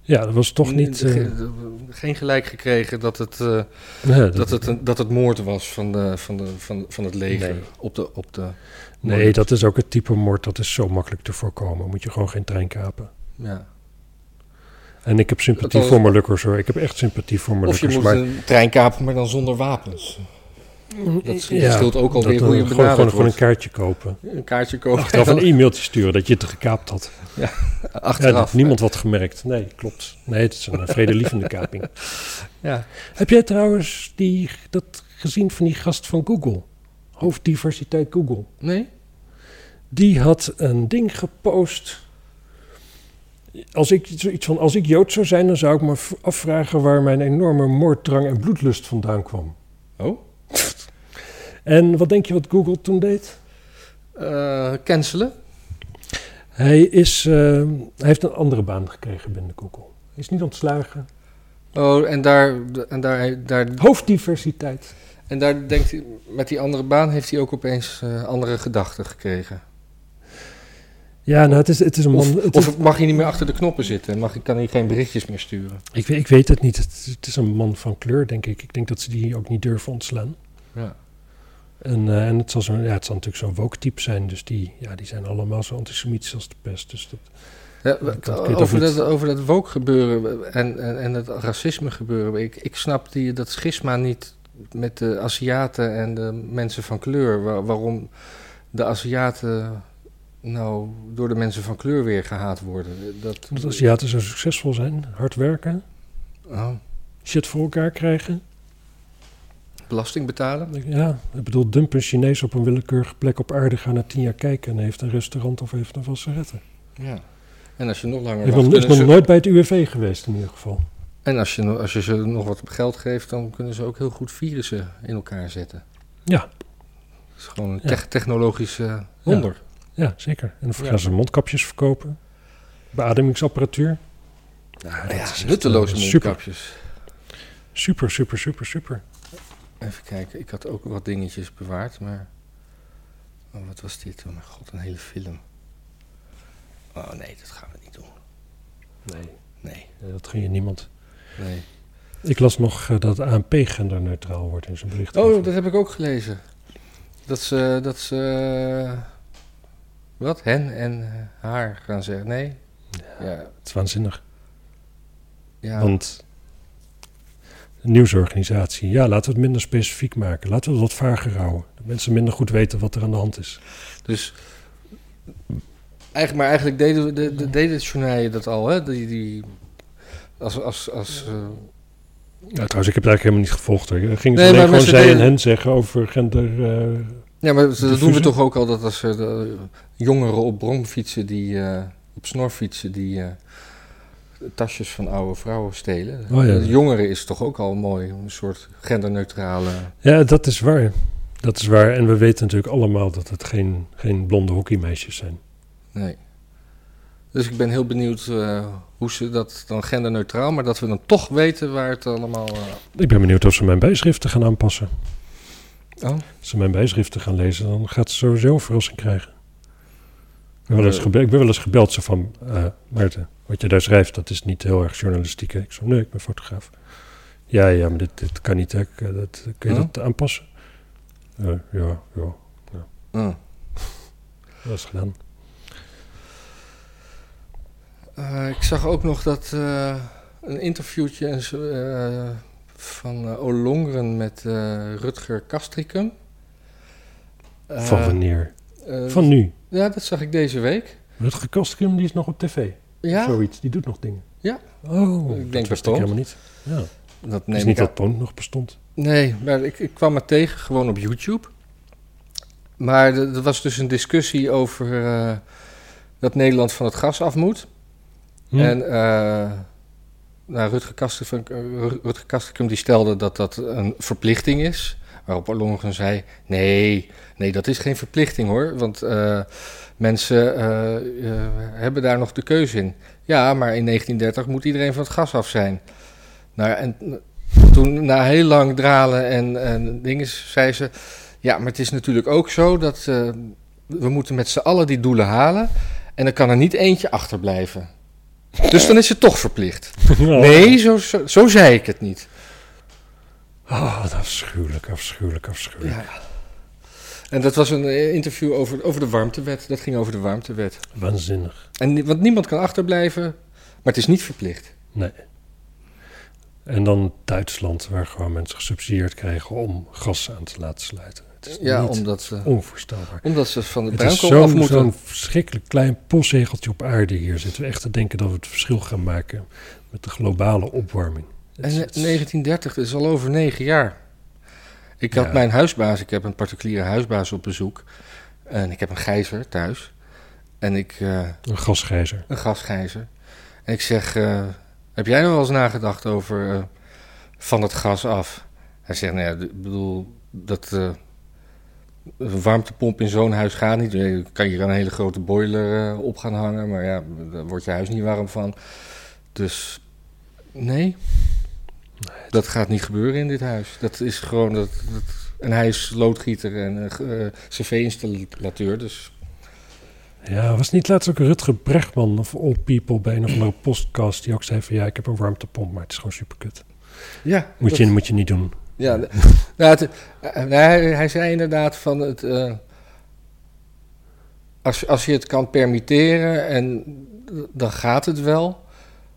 [SPEAKER 1] ja, dat was toch niet...
[SPEAKER 2] de-
[SPEAKER 1] eh,
[SPEAKER 2] de- geen gelijk gekregen dat het, eh,
[SPEAKER 1] nee, dat,
[SPEAKER 2] dat het, eh, een- dat het moord was van, de, van, de, van, van het leger.
[SPEAKER 1] Nee.
[SPEAKER 2] Op de, op de,
[SPEAKER 1] nee, dat is ook het type moord dat is zo makkelijk te voorkomen. Moet je gewoon geen trein kapen.
[SPEAKER 2] ja.
[SPEAKER 1] En ik heb sympathie
[SPEAKER 2] Althans-
[SPEAKER 1] voor Molukkers hoor. Ik heb echt sympathie voor
[SPEAKER 2] Of je
[SPEAKER 1] Molukkers.
[SPEAKER 2] moet
[SPEAKER 1] Maar
[SPEAKER 2] een trein kapen, maar dan zonder wapens. eh, Dat scheelt ook alweer
[SPEAKER 1] dat,
[SPEAKER 2] hoe
[SPEAKER 1] eh,
[SPEAKER 2] je
[SPEAKER 1] gewoon, gewoon,
[SPEAKER 2] benaderd
[SPEAKER 1] gewoon een
[SPEAKER 2] wordt.
[SPEAKER 1] kaartje kopen.
[SPEAKER 2] Een kaartje kopen.
[SPEAKER 1] Achteraf een e-mailtje sturen dat je het gekaapt had. Ja, dat
[SPEAKER 2] Achteraf.
[SPEAKER 1] heeft niemand wat gemerkt. Nee, klopt. Nee, het is een eh, vredelievende kaping.
[SPEAKER 2] Ja.
[SPEAKER 1] Heb jij trouwens die, dat gezien van die gast van Google? Hoofddiversiteit Google.
[SPEAKER 2] Nee?
[SPEAKER 1] Die had een ding gepost. Als ik, zoiets van, als ik Jood zou zijn, dan zou ik me v- afvragen waar mijn enorme moorddrang en bloedlust vandaan kwam.
[SPEAKER 2] Oh?
[SPEAKER 1] En wat denk je wat Google toen deed?
[SPEAKER 2] Eh, cancelen?
[SPEAKER 1] Hij, is, eh, hij heeft een andere baan gekregen binnen Google. Hij is niet ontslagen.
[SPEAKER 2] Oh, en daar, en daar, daar,
[SPEAKER 1] Hoofddiversiteit.
[SPEAKER 2] en daar denkt hij, met die andere baan heeft hij ook opeens eh, andere gedachten gekregen.
[SPEAKER 1] Ja, nou, het is, het is een man.
[SPEAKER 2] Of,
[SPEAKER 1] het is-
[SPEAKER 2] of mag hij niet meer achter de knoppen zitten? Mag, hij- kan hij geen berichtjes meer sturen?
[SPEAKER 1] ik, weet- ik weet het niet. Het, het is een man van kleur, denk ik. Ik denk dat ze die ook niet durven ontslaan.
[SPEAKER 2] Ja.
[SPEAKER 1] En, eh, en het, zal zo, ja, het zal natuurlijk zo'n woke-type zijn. Dus die, ja, die zijn allemaal zo antisemitisch als de pest. Dus dat,
[SPEAKER 2] Ja,
[SPEAKER 1] kan-
[SPEAKER 2] wat-
[SPEAKER 1] kan je toch
[SPEAKER 2] over,
[SPEAKER 1] niet-
[SPEAKER 2] dat, over dat woke gebeuren en, en, en het racisme gebeuren. Ik, ik snap die, dat schisma niet met de Aziaten en de mensen van kleur. Wa- waarom de Aziaten nou door de mensen van kleur weer gehaat worden. Dat,
[SPEAKER 1] dat Aziaten zo succesvol zijn. Hard werken.
[SPEAKER 2] Oh,
[SPEAKER 1] Shit voor elkaar krijgen.
[SPEAKER 2] belasting betalen.
[SPEAKER 1] Ja, ik bedoel, dump een Chinees op een willekeurige plek op aarde. Ga na tien jaar kijken en hij heeft een restaurant of heeft een vasserette.
[SPEAKER 2] Ja. En als je nog langer
[SPEAKER 1] Ik
[SPEAKER 2] wacht,
[SPEAKER 1] ben, ik
[SPEAKER 2] kunnen
[SPEAKER 1] ben
[SPEAKER 2] ze-
[SPEAKER 1] nooit bij het UWV geweest in ieder geval.
[SPEAKER 2] En als je, no- als je ze nog wat geld geeft, dan kunnen ze ook heel goed virussen in elkaar zetten.
[SPEAKER 1] Ja.
[SPEAKER 2] Dat is gewoon een
[SPEAKER 1] Ja.
[SPEAKER 2] tech- technologische wonder.
[SPEAKER 1] Ja, zeker. En dan
[SPEAKER 2] Ja.
[SPEAKER 1] gaan ze mondkapjes verkopen. Beademingsapparatuur.
[SPEAKER 2] Ja,
[SPEAKER 1] dat is echt,
[SPEAKER 2] nutteloze
[SPEAKER 1] eh, super.
[SPEAKER 2] mondkapjes.
[SPEAKER 1] Super, super, super, super.
[SPEAKER 2] Even kijken, ik had ook wat dingetjes bewaard, maar... Oh, wat was dit? Oh mijn god, een hele film. Oh nee, dat gaan we niet doen.
[SPEAKER 1] Nee.
[SPEAKER 2] Nee,
[SPEAKER 1] Dat ging Eh, je niemand.
[SPEAKER 2] nee.
[SPEAKER 1] Ik las nog eh, dat ANP genderneutraal wordt in zijn bericht.
[SPEAKER 2] Oh, dat heb ik ook gelezen. Dat ze... Dat ze eh, wat? Hen en eh, haar gaan zeggen. Nee? Ja.
[SPEAKER 1] Het is waanzinnig.
[SPEAKER 2] ja.
[SPEAKER 1] Want een nieuwsorganisatie, ja, laten we het minder specifiek maken. Laten we het wat vager houden. Dat mensen minder goed weten wat er aan de hand is.
[SPEAKER 2] Dus... Eigenlijk, maar eigenlijk deden, we- de, de, deden het journaal dat al, hè? Die, die, als, als, als, eh,
[SPEAKER 1] Ja, trouwens, ik heb het eigenlijk helemaal niet gevolgd. hoor. Er gingen ze
[SPEAKER 2] Nee,
[SPEAKER 1] alleen
[SPEAKER 2] maar
[SPEAKER 1] gewoon
[SPEAKER 2] mensen
[SPEAKER 1] zij en
[SPEAKER 2] deden-
[SPEAKER 1] hen zeggen over gender... eh,
[SPEAKER 2] Ja, maar dat doen we
[SPEAKER 1] Diffuser?
[SPEAKER 2] toch ook al dat als eh, de jongeren op bromfietsen, die, eh, op snorfietsen, die eh, tasjes van oude vrouwen stelen.
[SPEAKER 1] Oh ja.
[SPEAKER 2] De jongeren is toch ook al mooi, een soort genderneutrale.
[SPEAKER 1] Ja, dat is waar. Dat is waar. En we weten natuurlijk allemaal dat het geen, geen blonde hockeymeisjes zijn.
[SPEAKER 2] Nee. Dus ik ben heel benieuwd eh, hoe ze dat dan genderneutraal, maar dat we dan toch weten waar het allemaal. eh,
[SPEAKER 1] Ik ben benieuwd of ze mijn bijschriften gaan aanpassen.
[SPEAKER 2] oh.
[SPEAKER 1] Als ze mijn bijschriften gaan lezen, dan gaat ze sowieso een verrassing krijgen. Ik ben wel eens,
[SPEAKER 2] Eh.
[SPEAKER 1] gebe- ik ben wel eens gebeld zo van... eh, Maarten, wat je daar schrijft, dat is niet heel erg journalistiek. hè? Ik zo, nee, ik ben fotograaf. Ja, ja, maar dit, dit kan niet. Hè? Ik, eh, Dat, kun je
[SPEAKER 2] Huh?
[SPEAKER 1] dat aanpassen? Eh, ja, ja,
[SPEAKER 2] Mm.
[SPEAKER 1] dat is gedaan.
[SPEAKER 2] Eh, ik zag ook nog dat eh, een interviewtje en zo, eh, van eh, Olongren met eh, Rutger Kastricum. Eh,
[SPEAKER 1] van wanneer?
[SPEAKER 2] eh,
[SPEAKER 1] van nu.
[SPEAKER 2] Ja, dat zag ik deze week.
[SPEAKER 1] Rutger Kostkum, die is nog op tv.
[SPEAKER 2] Ja,
[SPEAKER 1] Zoiets, die doet nog dingen.
[SPEAKER 2] Ja.
[SPEAKER 1] Oh,
[SPEAKER 2] Ik denk
[SPEAKER 1] dat wist ik
[SPEAKER 2] bestond.
[SPEAKER 1] helemaal niet. Ja. Het
[SPEAKER 2] dat
[SPEAKER 1] is
[SPEAKER 2] neem
[SPEAKER 1] niet
[SPEAKER 2] ik
[SPEAKER 1] dat
[SPEAKER 2] aan.
[SPEAKER 1] Poont nog bestond.
[SPEAKER 2] Nee, maar ik, ik kwam het tegen gewoon op YouTube. Maar er er was dus een discussie over eh, dat Nederland van het gas af moet.
[SPEAKER 1] Hm.
[SPEAKER 2] En eh nou, Rutger Kastrikum, Rutger Kastrikum die stelde dat dat een verplichting is. Waarop Ollongren zei, nee, nee, dat is geen verplichting hoor. Want eh, mensen eh, eh, hebben daar nog de keuze in. Ja, maar in 1930 moet iedereen van het gas af zijn. Nou, en toen na heel lang dralen en, en dingen zei ze... Ja, maar het is natuurlijk ook zo dat eh, we moeten met z'n allen die doelen halen... en dan kan er niet eentje achterblijven. Dus dan is het toch verplicht. Nee, zo, zo, zo zei ik het niet.
[SPEAKER 1] Oh, wat afschuwelijk, afschuwelijk, afschuwelijk.
[SPEAKER 2] Ja. En dat was een eh, interview over, over de warmtewet. Dat ging over de warmtewet.
[SPEAKER 1] Waanzinnig.
[SPEAKER 2] En, ni- want niemand kan achterblijven, maar het is niet verplicht.
[SPEAKER 1] Nee. Eh, En dan Duitsland, waar gewoon mensen gesubsidieerd krijgen om gas aan te laten sluiten. Het is
[SPEAKER 2] Ja,
[SPEAKER 1] niet
[SPEAKER 2] omdat ze,
[SPEAKER 1] onvoorstelbaar.
[SPEAKER 2] omdat ze van de
[SPEAKER 1] Het is
[SPEAKER 2] bruinkool af
[SPEAKER 1] zo'n
[SPEAKER 2] moeten.
[SPEAKER 1] zo'n verschrikkelijk klein postzegeltje op aarde hier. Zitten we echt te denken dat we het verschil gaan maken met de globale opwarming. Het
[SPEAKER 2] En
[SPEAKER 1] is-
[SPEAKER 2] ne-
[SPEAKER 1] het is-
[SPEAKER 2] 1930, dat is al over negen jaar. Ik had
[SPEAKER 1] Ja.
[SPEAKER 2] mijn huisbaas, ik heb een particuliere huisbaas op bezoek. En ik heb een gijzer thuis. En ik, eh,
[SPEAKER 1] Een gasgijzer.
[SPEAKER 2] een gasgijzer. En ik zeg, eh, heb jij nou wel eens nagedacht over eh, van het gas af? Hij zegt, nou ja, d- ik bedoel, dat eh, een warmtepomp in zo'n huis gaat niet. Eh, Je kan hier een hele grote boiler eh, op gaan hangen, maar ja, daar wordt je huis niet warm van. Dus nee, dat gaat niet gebeuren in dit huis. Dat is gewoon, dat, dat- en hij is loodgieter en eh, eh, cv-installateur, dus
[SPEAKER 1] Ja, was niet laatst ook Rutger Brechtman of All People bij een of andere podcast die ook zei van ja, ik heb een warmtepomp, maar het is gewoon superkut.
[SPEAKER 2] ja.
[SPEAKER 1] Moet,
[SPEAKER 2] dat-
[SPEAKER 1] je, moet je niet doen.
[SPEAKER 2] Ja, de- nou, het, eh, nou, hij, hij zei inderdaad van het. eh, als, als je het kan permitteren, en, dan gaat het wel.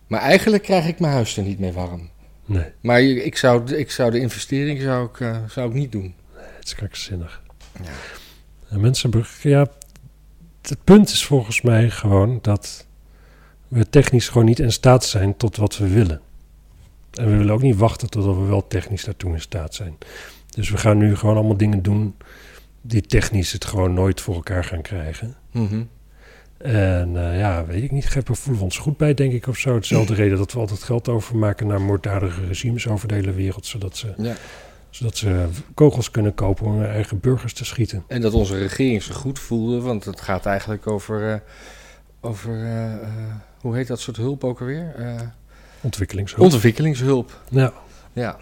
[SPEAKER 2] Maar eigenlijk krijg ik mijn huis er niet mee warm.
[SPEAKER 1] Nee,
[SPEAKER 2] Maar je- ik zou, ik zou de investering zou ik, eh, zou ik niet doen.
[SPEAKER 1] het is krankzinnig.
[SPEAKER 2] Ja.
[SPEAKER 1] En mensen, beg- ja, het punt is volgens mij gewoon dat we technisch gewoon niet in staat zijn tot wat we willen. En we willen ook niet wachten totdat we wel technisch daartoe in staat zijn. Dus we gaan nu gewoon allemaal dingen doen die technisch het gewoon nooit voor elkaar gaan krijgen.
[SPEAKER 2] Mhm.
[SPEAKER 1] En eh, ja, weet ik niet. Gepper voelen we ons goed bij, denk ik, of zo. Hetzelfde reden dat we altijd geld overmaken naar moorddadige regimes over de hele wereld. Zodat ze,
[SPEAKER 2] Ja.
[SPEAKER 1] zodat ze kogels kunnen kopen om hun eigen burgers te schieten.
[SPEAKER 2] En dat onze regering zich goed voelde, want het gaat eigenlijk over. eh, over eh, eh, hoe heet dat soort hulp ook alweer? Eh,
[SPEAKER 1] Ontwikkelingshulp.
[SPEAKER 2] ontwikkelingshulp.
[SPEAKER 1] ja.
[SPEAKER 2] Ja.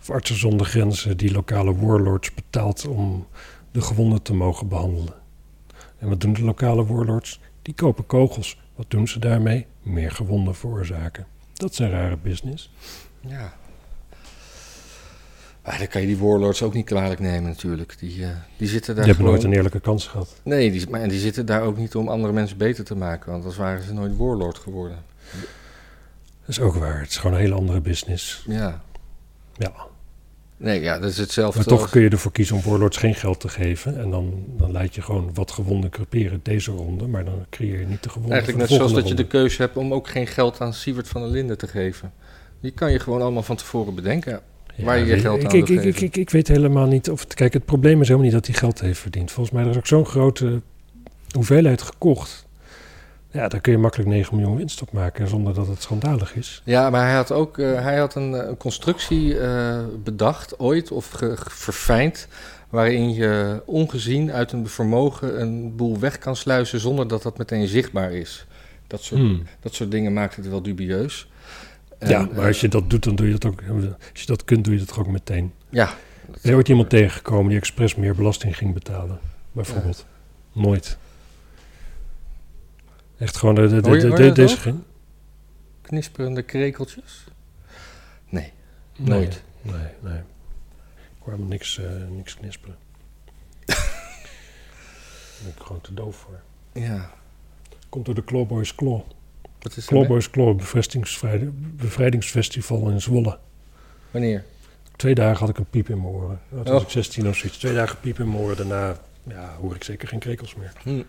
[SPEAKER 1] Of artsen zonder grenzen die lokale warlords betaalt om de gewonden te mogen behandelen. En wat doen de lokale warlords? Die kopen kogels. Wat doen ze daarmee? Meer gewonden veroorzaken. Dat is een rare business.
[SPEAKER 2] Ja. Maar dan kan je die warlords ook niet kwalijk nemen natuurlijk. Die, eh, die
[SPEAKER 1] Die
[SPEAKER 2] zitten daar
[SPEAKER 1] hebben nooit
[SPEAKER 2] gewoon-
[SPEAKER 1] een eerlijke kans gehad.
[SPEAKER 2] Nee, die, maar die zitten daar ook niet om andere mensen beter te maken. Want anders waren ze nooit warlord geworden.
[SPEAKER 1] Dat is ook waar. Het is gewoon een hele andere business.
[SPEAKER 2] Ja.
[SPEAKER 1] Ja.
[SPEAKER 2] Nee, ja, dat is hetzelfde.
[SPEAKER 1] Maar toch
[SPEAKER 2] als-
[SPEAKER 1] kun je ervoor kiezen om Warlords geen geld te geven. En dan, dan laat je gewoon wat gewonden creperen deze ronde. Maar dan creëer je niet de gewonden
[SPEAKER 2] Eigenlijk net
[SPEAKER 1] voor de
[SPEAKER 2] zoals dat je
[SPEAKER 1] volgende
[SPEAKER 2] de keuze hebt om ook geen geld aan Siewert van der Linden te geven. Die kan je gewoon allemaal van tevoren bedenken.
[SPEAKER 1] ronde.
[SPEAKER 2] waar je je
[SPEAKER 1] weet-
[SPEAKER 2] geld
[SPEAKER 1] ik,
[SPEAKER 2] aan
[SPEAKER 1] ik,
[SPEAKER 2] wil
[SPEAKER 1] ik, ik,
[SPEAKER 2] geven.
[SPEAKER 1] ik, ik weet helemaal niet of... Het, kijk, het probleem is helemaal niet dat hij geld heeft verdiend. Volgens mij er is ook zo'n grote hoeveelheid gekocht. Ja, daar kun je makkelijk 9 miljoen winst op maken zonder dat het schandalig is.
[SPEAKER 2] Ja, maar hij had ook eh, hij had een, eh, een constructie eh, bedacht ooit of ge- ge- verfijnd. waarin je ongezien uit een vermogen een boel weg kan sluizen zonder dat dat meteen zichtbaar is. Dat soort,
[SPEAKER 1] Hmm.
[SPEAKER 2] dat soort dingen maakt het wel dubieus. En,
[SPEAKER 1] ja, maar als
[SPEAKER 2] eh,
[SPEAKER 1] je dat doet, dan doe je dat ook... Als je dat kunt, doe je dat toch ook meteen.
[SPEAKER 2] ja,
[SPEAKER 1] Ben je ooit iemand tegengekomen die expres meer belasting ging betalen? Bijvoorbeeld. Nooit. Echt gewoon de, de, de,
[SPEAKER 2] Hoor je-
[SPEAKER 1] de-
[SPEAKER 2] hoor
[SPEAKER 1] de-
[SPEAKER 2] je dat
[SPEAKER 1] deze
[SPEAKER 2] ook?
[SPEAKER 1] ging?
[SPEAKER 2] knisperende krekeltjes. Nee,
[SPEAKER 1] Nee,
[SPEAKER 2] Nooit.
[SPEAKER 1] Nee, nee. Ik hoor helemaal niks, eh, niks knisperen. Daar ben ik gewoon te doof voor.
[SPEAKER 2] ja.
[SPEAKER 1] Komt door de Clawboys Claw.
[SPEAKER 2] Wat is er?
[SPEAKER 1] Clawboys Claw, bevrijdingsvrij- bevrijdingsfestival in Zwolle.
[SPEAKER 2] Wanneer?
[SPEAKER 1] Twee dagen had ik een piep in mijn oren. Dat was
[SPEAKER 2] Oh.
[SPEAKER 1] ik 16 of zoiets. Twee dagen piep in mijn oren. Daarna ja, hoor ik zeker geen krekels meer.
[SPEAKER 2] Hm. Wat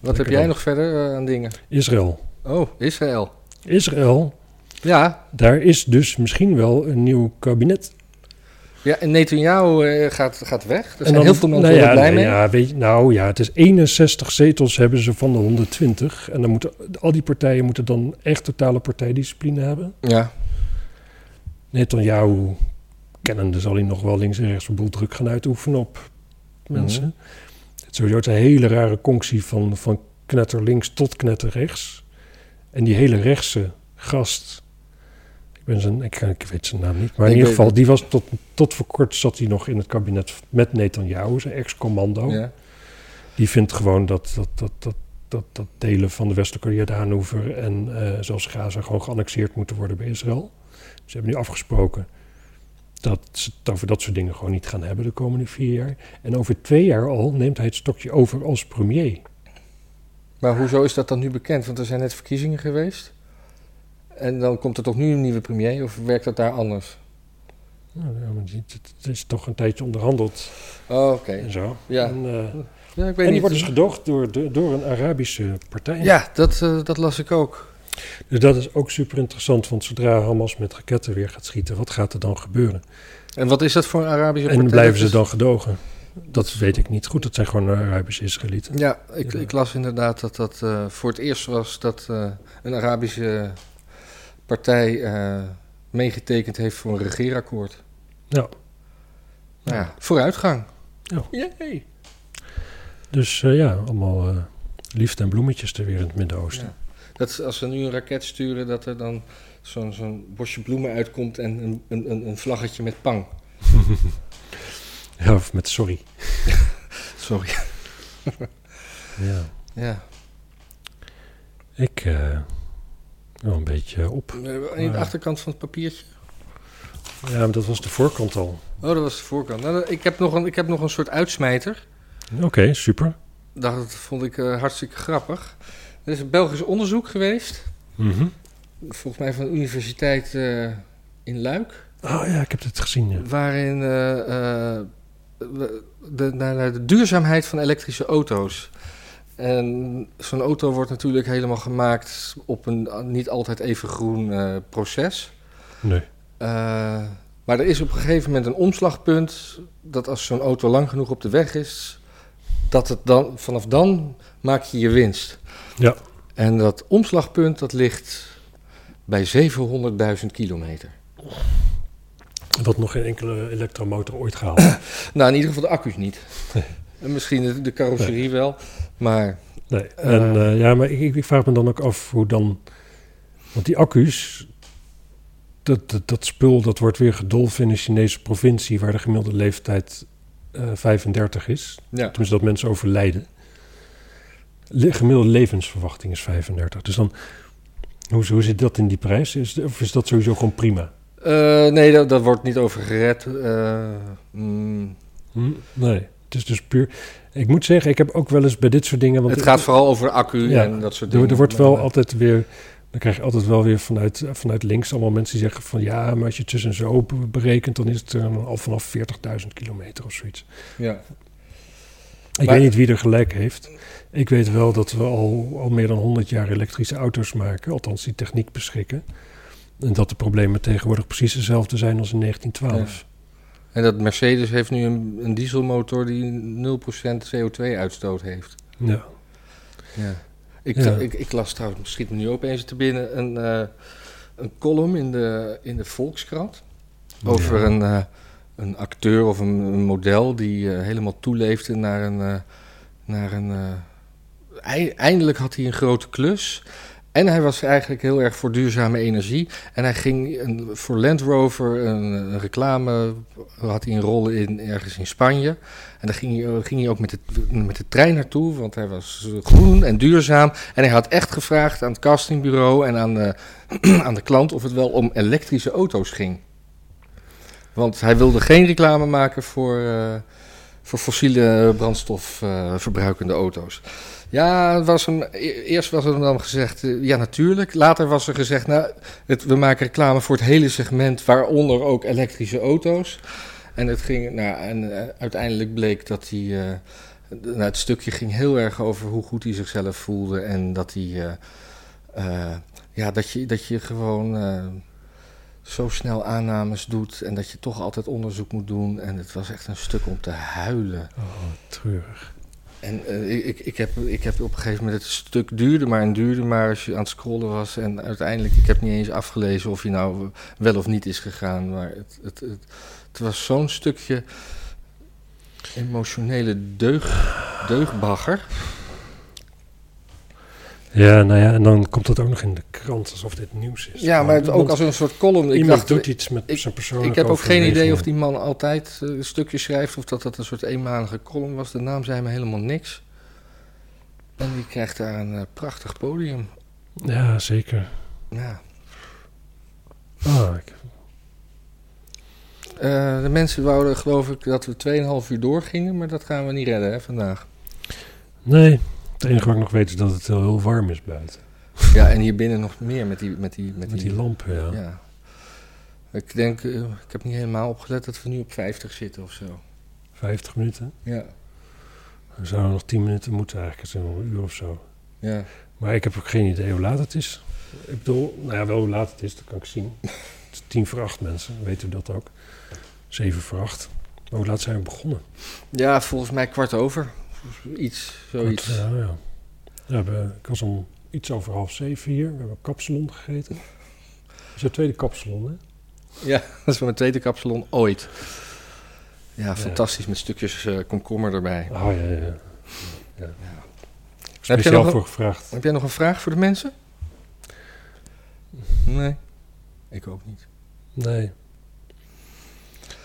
[SPEAKER 1] Lekker
[SPEAKER 2] heb jij
[SPEAKER 1] dan.
[SPEAKER 2] nog verder eh, aan dingen?
[SPEAKER 1] Israël.
[SPEAKER 2] Oh, Israël.
[SPEAKER 1] Israël
[SPEAKER 2] Ja,
[SPEAKER 1] Daar is dus misschien wel een nieuw kabinet.
[SPEAKER 2] ja en Netanyahu eh, gaat, gaat weg. Er
[SPEAKER 1] En
[SPEAKER 2] zijn
[SPEAKER 1] dan-
[SPEAKER 2] heel veel mensen
[SPEAKER 1] nou ja,
[SPEAKER 2] heel blij
[SPEAKER 1] nee,
[SPEAKER 2] mee.
[SPEAKER 1] Ja, weet, je- nou ja, het is 61 zetels hebben ze van de 120. En dan moeten al die partijen moeten dan echt totale partijdiscipline hebben.
[SPEAKER 2] ja.
[SPEAKER 1] Netanyahu kennende zal hij nog wel links en rechts een boel druk gaan uitoefenen op mensen.
[SPEAKER 2] Mhm.
[SPEAKER 1] Het is sowieso het een hele rare conctie van, van knetter links tot knetter rechts. En die hele rechtse gast, ik, ben zijn, ik, ik weet zijn naam niet, maar in
[SPEAKER 2] Ik
[SPEAKER 1] ieder
[SPEAKER 2] weet
[SPEAKER 1] geval, die was tot, tot voor kort zat hij nog in het kabinet met Netanyahu, zijn ex-commando.
[SPEAKER 2] Ja.
[SPEAKER 1] Die vindt gewoon dat, dat, dat, dat, dat, dat delen van de westelijke Jordaanoever en eh, zelfs Gaza gewoon geannexeerd moeten worden bij Israël. Ze hebben nu afgesproken dat ze het over dat soort dingen gewoon niet gaan hebben de komende vier jaar. En over twee jaar al neemt hij het stokje over als premier.
[SPEAKER 2] Maar hoezo is dat dan nu bekend? Want er zijn net verkiezingen geweest. En dan komt er toch nu een nieuwe premier, of werkt dat daar anders?
[SPEAKER 1] Nou, ja, maar die- het het is toch een tijdje onderhandeld
[SPEAKER 2] Oh, oké.
[SPEAKER 1] en zo.
[SPEAKER 2] Ja.
[SPEAKER 1] En, eh,
[SPEAKER 2] Ja,
[SPEAKER 1] en
[SPEAKER 2] ik weet
[SPEAKER 1] die
[SPEAKER 2] niet. eh,
[SPEAKER 1] wordt dus gedoogd door, de- door een Arabische partij.
[SPEAKER 2] ja, dat, eh, dat las ik ook.
[SPEAKER 1] Dus dat is ook super interessant, want zodra Hamas met raketten weer gaat schieten, wat gaat er dan gebeuren?
[SPEAKER 2] En wat is dat voor een Arabische
[SPEAKER 1] En
[SPEAKER 2] partij?
[SPEAKER 1] blijven
[SPEAKER 2] Dat
[SPEAKER 1] ze
[SPEAKER 2] is-
[SPEAKER 1] dan gedogen? Dat weet ik niet goed, dat zijn gewoon Arabische Israëlieten.
[SPEAKER 2] Ja, ik,
[SPEAKER 1] Ja.
[SPEAKER 2] ik las inderdaad dat dat eh, voor het eerst was dat eh, een Arabische partij eh, meegetekend heeft voor een regeerakkoord.
[SPEAKER 1] Ja.
[SPEAKER 2] Nou ja, vooruitgang.
[SPEAKER 1] Ja.
[SPEAKER 2] Yay.
[SPEAKER 1] Dus eh, ja, allemaal eh, liefde en bloemetjes er weer in het Midden-Oosten.
[SPEAKER 2] Ja. Dat is als ze nu een raket sturen, dat er dan zo'n zo'n bosje bloemen uitkomt en een, een, een- een vlaggetje met pang.
[SPEAKER 1] Ja. of met sorry.
[SPEAKER 2] Sorry.
[SPEAKER 1] Ja.
[SPEAKER 2] Ja.
[SPEAKER 1] Ik eh wel een beetje op.
[SPEAKER 2] Eh, In de achterkant van het papiertje.
[SPEAKER 1] Ja, maar dat was de voorkant al.
[SPEAKER 2] Oh, dat was de voorkant. Nou, ik, heb nog een, ik heb nog een soort uitsmijter.
[SPEAKER 1] Oké, super.
[SPEAKER 2] Dat dat vond ik eh, hartstikke grappig. Er is een Belgisch onderzoek geweest,
[SPEAKER 1] Mhm.
[SPEAKER 2] volgens mij van de universiteit eh, in Luik,
[SPEAKER 1] Oh ja, ik heb dit gezien. ja.
[SPEAKER 2] waarin eh, eh, we- de, naar naar de duurzaamheid van elektrische auto's. En zo'n auto wordt natuurlijk helemaal gemaakt op een niet altijd even groen eh, proces.
[SPEAKER 1] Nee.
[SPEAKER 2] Eh, maar er is op een gegeven moment een omslagpunt dat als zo'n auto lang genoeg op de weg is, dat het dan, vanaf dan maak je je winst.
[SPEAKER 1] Ja.
[SPEAKER 2] En dat omslagpunt dat ligt bij 700.000 kilometer.
[SPEAKER 1] Wat nog geen enkele elektromotor ooit gehaald.
[SPEAKER 2] Nou, in ieder geval de accu's niet. En misschien de, de carrosserie wel, maar
[SPEAKER 1] Nee. En, eh, ja, maar ik, ik vraag me dan ook af hoe dan... Want die accu's, dat, dat, dat spul, dat wordt weer gedolven in een Chinese provincie... waar de gemiddelde leeftijd eh, 35 is.
[SPEAKER 2] ja.
[SPEAKER 1] Tenminste, dat mensen overlijden. Le- gemiddelde levensverwachting is 35. Dus dan, hoe, hoe zit dat in die prijs? Is, of is dat sowieso gewoon prima?
[SPEAKER 2] Eh, nee, daar, daar wordt niet over gered. Eh, mm.
[SPEAKER 1] Hm? Nee, het is dus puur... Ik moet zeggen, ik heb ook wel eens bij dit soort dingen... Want
[SPEAKER 2] het gaat vooral over de accu
[SPEAKER 1] Ja.
[SPEAKER 2] en dat soort
[SPEAKER 1] er,
[SPEAKER 2] dingen. Eh,
[SPEAKER 1] er wordt wel
[SPEAKER 2] Maar-
[SPEAKER 1] altijd weer... Dan krijg je altijd wel weer vanuit, eh, vanuit links allemaal mensen die zeggen van... ja, maar als je het tussen zo be- berekent, dan is het eh, al vanaf 40.000 kilometer of zoiets.
[SPEAKER 2] Ja.
[SPEAKER 1] Ik
[SPEAKER 2] Maar-
[SPEAKER 1] weet niet wie er gelijk heeft. Ik weet wel dat we al, al meer dan 100 jaar elektrische auto's maken, althans die techniek beschikken. En dat de problemen tegenwoordig precies dezelfde zijn als in 1912.
[SPEAKER 2] En dat Mercedes heeft nu een, een dieselmotor die 0% CO2-uitstoot heeft.
[SPEAKER 1] Ja.
[SPEAKER 2] Ja. Ik,
[SPEAKER 1] Ja.
[SPEAKER 2] ik, ik las trouwens, schiet me nu opeens te binnen, een, eh, een column in de, in de Volkskrant over
[SPEAKER 1] Ja.
[SPEAKER 2] een, eh, een acteur of een, een model die eh, helemaal toeleefde naar een... eh, naar een eh, ei- eindelijk had hij een grote klus. En hij was eigenlijk heel erg voor duurzame energie. En hij ging een, voor Land Rover een, een reclame, had hij een rol in ergens in Spanje. En daar ging hij, eh, ging hij ook met de, met de trein naartoe, want hij was eh, groen en duurzaam. En hij had echt gevraagd aan het castingbureau en aan eh, de, aan de klant of het wel om elektrische auto's ging. Want hij wilde geen reclame maken voor, eh, voor fossiele brandstof eh, verbruikende auto's. Ja, het was hem, e- eerst was er dan gezegd, eh, ja natuurlijk. Later was er gezegd, nou, het, we maken reclame voor het hele segment, waaronder ook elektrische auto's. En, het ging, nou, en eh, uiteindelijk bleek dat hij, eh, nou, het stukje ging heel erg over hoe goed hij zichzelf voelde. En dat hij, eh, eh, ja, dat je, dat je gewoon... eh, zo snel aannames doet en dat je toch altijd onderzoek moet doen. En het was echt een stuk om te huilen.
[SPEAKER 1] Oh, treurig.
[SPEAKER 2] En eh, ik, ik, heb, ik heb op een gegeven moment het stuk duurde maar en duurde maar als je aan het scrollen was. En uiteindelijk, ik heb niet eens afgelezen of hij nou wel of niet is gegaan. Maar het, het, het, het was zo'n stukje emotionele deug, deugbagger.
[SPEAKER 1] Ja, nou ja, en dan komt dat ook nog in de krant alsof dit nieuws is.
[SPEAKER 2] Ja, maar het, ook
[SPEAKER 1] iemand-
[SPEAKER 2] als een soort column. Ik
[SPEAKER 1] iemand
[SPEAKER 2] dacht,
[SPEAKER 1] doet iets met
[SPEAKER 2] ik-
[SPEAKER 1] zijn
[SPEAKER 2] Ik
[SPEAKER 1] persoonlijke
[SPEAKER 2] heb ook geen idee of
[SPEAKER 1] overwegingen.
[SPEAKER 2] die man altijd eh, een stukje schrijft of dat dat een soort eenmalige column was. De naam zei me helemaal niks. En die krijgt daar een eh, prachtig podium.
[SPEAKER 1] Ja, zeker.
[SPEAKER 2] Ja.
[SPEAKER 1] Ah, ik-
[SPEAKER 2] Eh, de mensen wouden geloof ik dat we 2,5 uur doorgingen, maar dat gaan we niet redden hè, vandaag.
[SPEAKER 1] nee, het enige wat ik nog weet is dat het heel, heel warm is buiten.
[SPEAKER 2] Ja, en hier binnen nog meer met die... Met die,
[SPEAKER 1] Met die lampen, ja.
[SPEAKER 2] Ja. Ik denk, eh, ik heb niet helemaal opgelet dat we nu op 50 zitten of zo.
[SPEAKER 1] 50 minuten.
[SPEAKER 2] Ja.
[SPEAKER 1] We zouden nog 10 minuten moeten eigenlijk. Het is nog een uur of zo.
[SPEAKER 2] Ja.
[SPEAKER 1] Maar ik heb ook geen idee hoe laat het is. Ik bedoel, nou ja, wel hoe laat het is, dat kan ik zien. Het is tien voor acht mensen, weten we dat ook. Zeven voor acht. Maar hoe laat zijn we begonnen?
[SPEAKER 2] ja, volgens mij kwart over. Volgens- Iets, zoiets.
[SPEAKER 1] Want, ja, ja. We hebben, ik was om iets over half zeven hier. We hebben een kapsalon gegeten. Dat is de tweede kapsalon, hè?
[SPEAKER 2] Ja, dat is mijn tweede kapsalon ooit. Ja,
[SPEAKER 1] Ja.
[SPEAKER 2] fantastisch met stukjes eh, komkommer erbij.
[SPEAKER 1] Oh, ja, ja, ja. ja.
[SPEAKER 2] Heb jij nog
[SPEAKER 1] Speciaal
[SPEAKER 2] een-
[SPEAKER 1] voor gevraagd.
[SPEAKER 2] Heb jij nog een vraag voor de mensen? Nee. Ik ook niet.
[SPEAKER 1] Nee.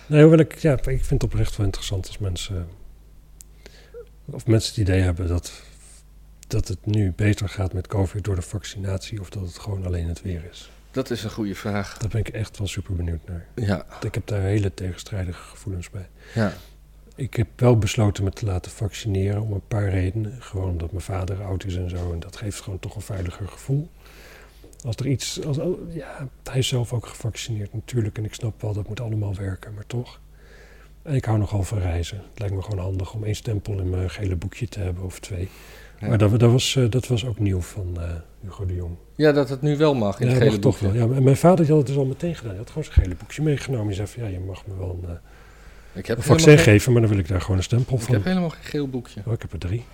[SPEAKER 1] Nee, hoewel ik, ja, ik vind het oprecht wel interessant als mensen. Of mensen het idee hebben dat, dat het nu beter gaat met COVID door de vaccinatie. of dat het gewoon alleen het weer is.
[SPEAKER 2] Dat is een goede vraag.
[SPEAKER 1] Daar ben ik echt wel super benieuwd naar.
[SPEAKER 2] Ja,
[SPEAKER 1] Want Ik heb daar hele tegenstrijdige gevoelens bij.
[SPEAKER 2] ja.
[SPEAKER 1] Ik heb wel besloten me te laten vaccineren om een paar redenen. Gewoon omdat mijn vader oud is en zo. En dat geeft gewoon toch een veiliger gevoel. Als er iets. Als, oh, ja, hij is zelf ook gevaccineerd natuurlijk. En ik snap wel, dat moet allemaal werken, maar toch. En ik hou nogal van reizen. Het lijkt me gewoon handig om één stempel in mijn gele boekje te hebben of twee.
[SPEAKER 2] Ja.
[SPEAKER 1] Maar dat, dat, was, eh, dat was ook nieuw van eh, Hugo de Jong.
[SPEAKER 2] Ja, dat het nu wel mag in
[SPEAKER 1] Ja,
[SPEAKER 2] het
[SPEAKER 1] dat
[SPEAKER 2] gele
[SPEAKER 1] mag toch
[SPEAKER 2] boekje.
[SPEAKER 1] wel. Ja, en mijn vader die had het dus al meteen gedaan. Hij had gewoon zijn gele boekje meegenomen. Hij zei van ja, je mag me wel een, eh,
[SPEAKER 2] Ik heb,
[SPEAKER 1] een
[SPEAKER 2] helemaal
[SPEAKER 1] vaccin
[SPEAKER 2] geen,
[SPEAKER 1] geven, maar dan wil ik daar gewoon een stempel
[SPEAKER 2] ik
[SPEAKER 1] van.
[SPEAKER 2] heb helemaal geen geel boekje.
[SPEAKER 1] Oh, ik heb er drie.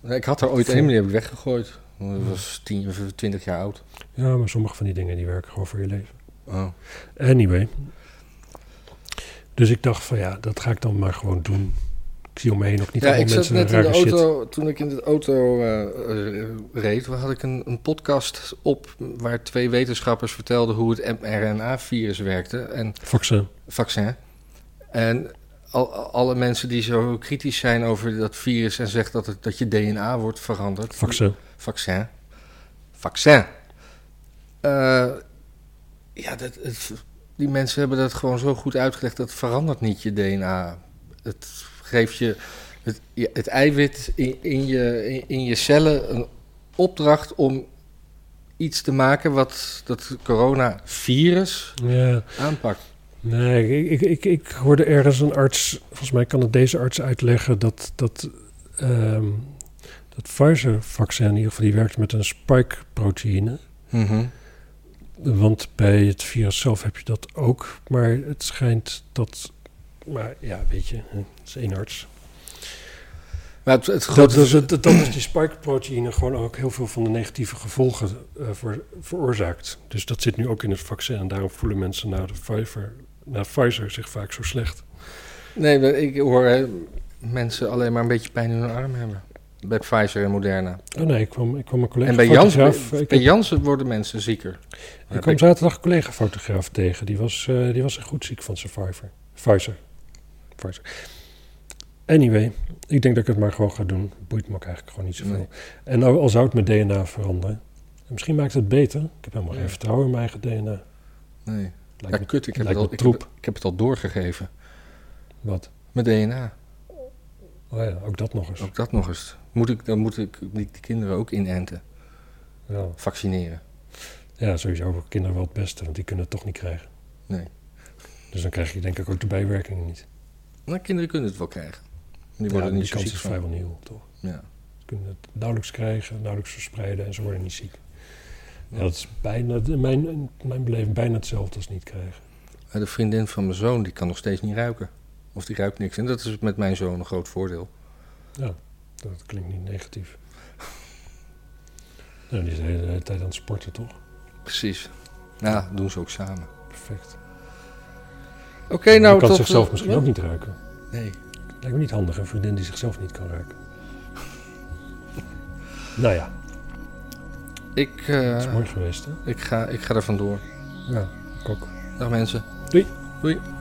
[SPEAKER 2] Nee, Ik had er ooit
[SPEAKER 1] Vol-
[SPEAKER 2] één, maar die heb ik weggegooid. Dat was 10 of 20 jaar oud.
[SPEAKER 1] Ja, maar sommige van die dingen die werken gewoon voor je leven.
[SPEAKER 2] Oh.
[SPEAKER 1] Anyway. Dus ik dacht van ja, dat ga ik dan maar gewoon doen. Ik zie om me heen ook niet
[SPEAKER 2] Ja,
[SPEAKER 1] allemaal
[SPEAKER 2] ik zat
[SPEAKER 1] mensen
[SPEAKER 2] net in
[SPEAKER 1] rare
[SPEAKER 2] de
[SPEAKER 1] shit.
[SPEAKER 2] auto, toen ik in de auto eh, eh, reed, had ik een, een podcast op waar twee wetenschappers vertelden hoe het mRNA-virus werkte. En
[SPEAKER 1] Vaccin.
[SPEAKER 2] vaccin. En al, alle mensen die zo kritisch zijn over dat virus en zeggen dat, het, dat je DNA wordt veranderd.
[SPEAKER 1] Vaccin.
[SPEAKER 2] Vaccin. Vaccin. Eh, ja, dat, het- die mensen hebben dat gewoon zo goed uitgelegd. Dat verandert niet je DNA. Het geeft je het, je- het eiwit in, in, je, in, in je cellen een opdracht om iets te maken wat dat coronavirus
[SPEAKER 1] Ja,
[SPEAKER 2] aanpakt.
[SPEAKER 1] nee, ik, ik, ik, ik hoorde ergens een arts, volgens mij kan het deze arts uitleggen, dat dat, ehm, dat Pfizer-vaccin in ieder geval, die werkt met een spike-proteïne. Want bij het virus zelf heb je dat ook. Maar het schijnt dat. Maar ja, weet je, hè, het is één arts.
[SPEAKER 2] Maar het, het
[SPEAKER 1] Dat,
[SPEAKER 2] grote
[SPEAKER 1] dat, dat, dat is die spike-proteïne gewoon ook heel veel van de negatieve gevolgen eh, voor, veroorzaakt. Dus dat zit nu ook in het vaccin. En daarom voelen mensen na, de Pfizer, na Pfizer zich vaak zo slecht.
[SPEAKER 2] Nee, maar ik hoor hè, mensen alleen maar een beetje pijn in hun arm hebben. Bij Pfizer en Moderna.
[SPEAKER 1] Oh nee, ik kwam, ik kwam een collega
[SPEAKER 2] en bij Janssen,
[SPEAKER 1] fotograaf... ik,
[SPEAKER 2] bij Janssen worden mensen zieker.
[SPEAKER 1] ik kwam zaterdag een collega fotograaf tegen. Die was, eh, die was echt goed ziek van Survivor. Pfizer. Pfizer. Anyway, ik denk dat ik het maar gewoon ga doen. Boeit me ook eigenlijk gewoon niet zoveel.
[SPEAKER 2] Nee.
[SPEAKER 1] En al, al zou het mijn DNA veranderen. Misschien maakt het beter. Ik heb helemaal geen
[SPEAKER 2] Ja.
[SPEAKER 1] vertrouwen in mijn eigen DNA.
[SPEAKER 2] Nee. Ja,
[SPEAKER 1] Lijkt me
[SPEAKER 2] kut, ik heb,
[SPEAKER 1] lijkt
[SPEAKER 2] het al,
[SPEAKER 1] me
[SPEAKER 2] ik, heb,
[SPEAKER 1] troep.
[SPEAKER 2] ik heb het al doorgegeven.
[SPEAKER 1] wat.
[SPEAKER 2] Mijn DNA.
[SPEAKER 1] Oh ja, ook dat nog eens.
[SPEAKER 2] Ook dat nog eens. Moet ik, dan moet ik die, die kinderen ook inenten.
[SPEAKER 1] Ja.
[SPEAKER 2] Vaccineren.
[SPEAKER 1] ja, sowieso voor kinderen wel het beste, want die kunnen het toch niet krijgen.
[SPEAKER 2] Nee.
[SPEAKER 1] Dus dan krijg je denk ik ook de bijwerkingen niet.
[SPEAKER 2] Nou, kinderen kunnen het wel krijgen. Die
[SPEAKER 1] Ja,
[SPEAKER 2] worden niet zo
[SPEAKER 1] kans
[SPEAKER 2] ziek
[SPEAKER 1] is
[SPEAKER 2] van.
[SPEAKER 1] vrijwel nieuw, toch?
[SPEAKER 2] Ja.
[SPEAKER 1] Ze kunnen het nauwelijks krijgen, nauwelijks verspreiden en ze worden niet ziek. Ja, dat is bijna, in mijn, in mijn beleving bijna hetzelfde als niet krijgen.
[SPEAKER 2] Maar De vriendin van mijn zoon, die kan nog steeds niet ruiken. Of die ruikt niks. En dat is met mijn zoon een groot voordeel.
[SPEAKER 1] Dat klinkt niet negatief. Nou, die is de hele, hele tijd aan het sporten, toch?
[SPEAKER 2] Precies. Nou, doen ze ook samen.
[SPEAKER 1] Perfect.
[SPEAKER 2] Oké,
[SPEAKER 1] Die
[SPEAKER 2] nou
[SPEAKER 1] kan
[SPEAKER 2] tot...
[SPEAKER 1] zichzelf misschien
[SPEAKER 2] Ja.
[SPEAKER 1] ook niet ruiken.
[SPEAKER 2] Nee.
[SPEAKER 1] Lijkt me niet handig, een vriendin die zichzelf niet kan ruiken. nou ja,
[SPEAKER 2] Ik,
[SPEAKER 1] dat is
[SPEAKER 2] eh,
[SPEAKER 1] mooi geweest, hè?
[SPEAKER 2] ik, ga, ik ga er vandoor.
[SPEAKER 1] Ja, ik ook.
[SPEAKER 2] Dag mensen.
[SPEAKER 1] Doei.
[SPEAKER 2] Doei.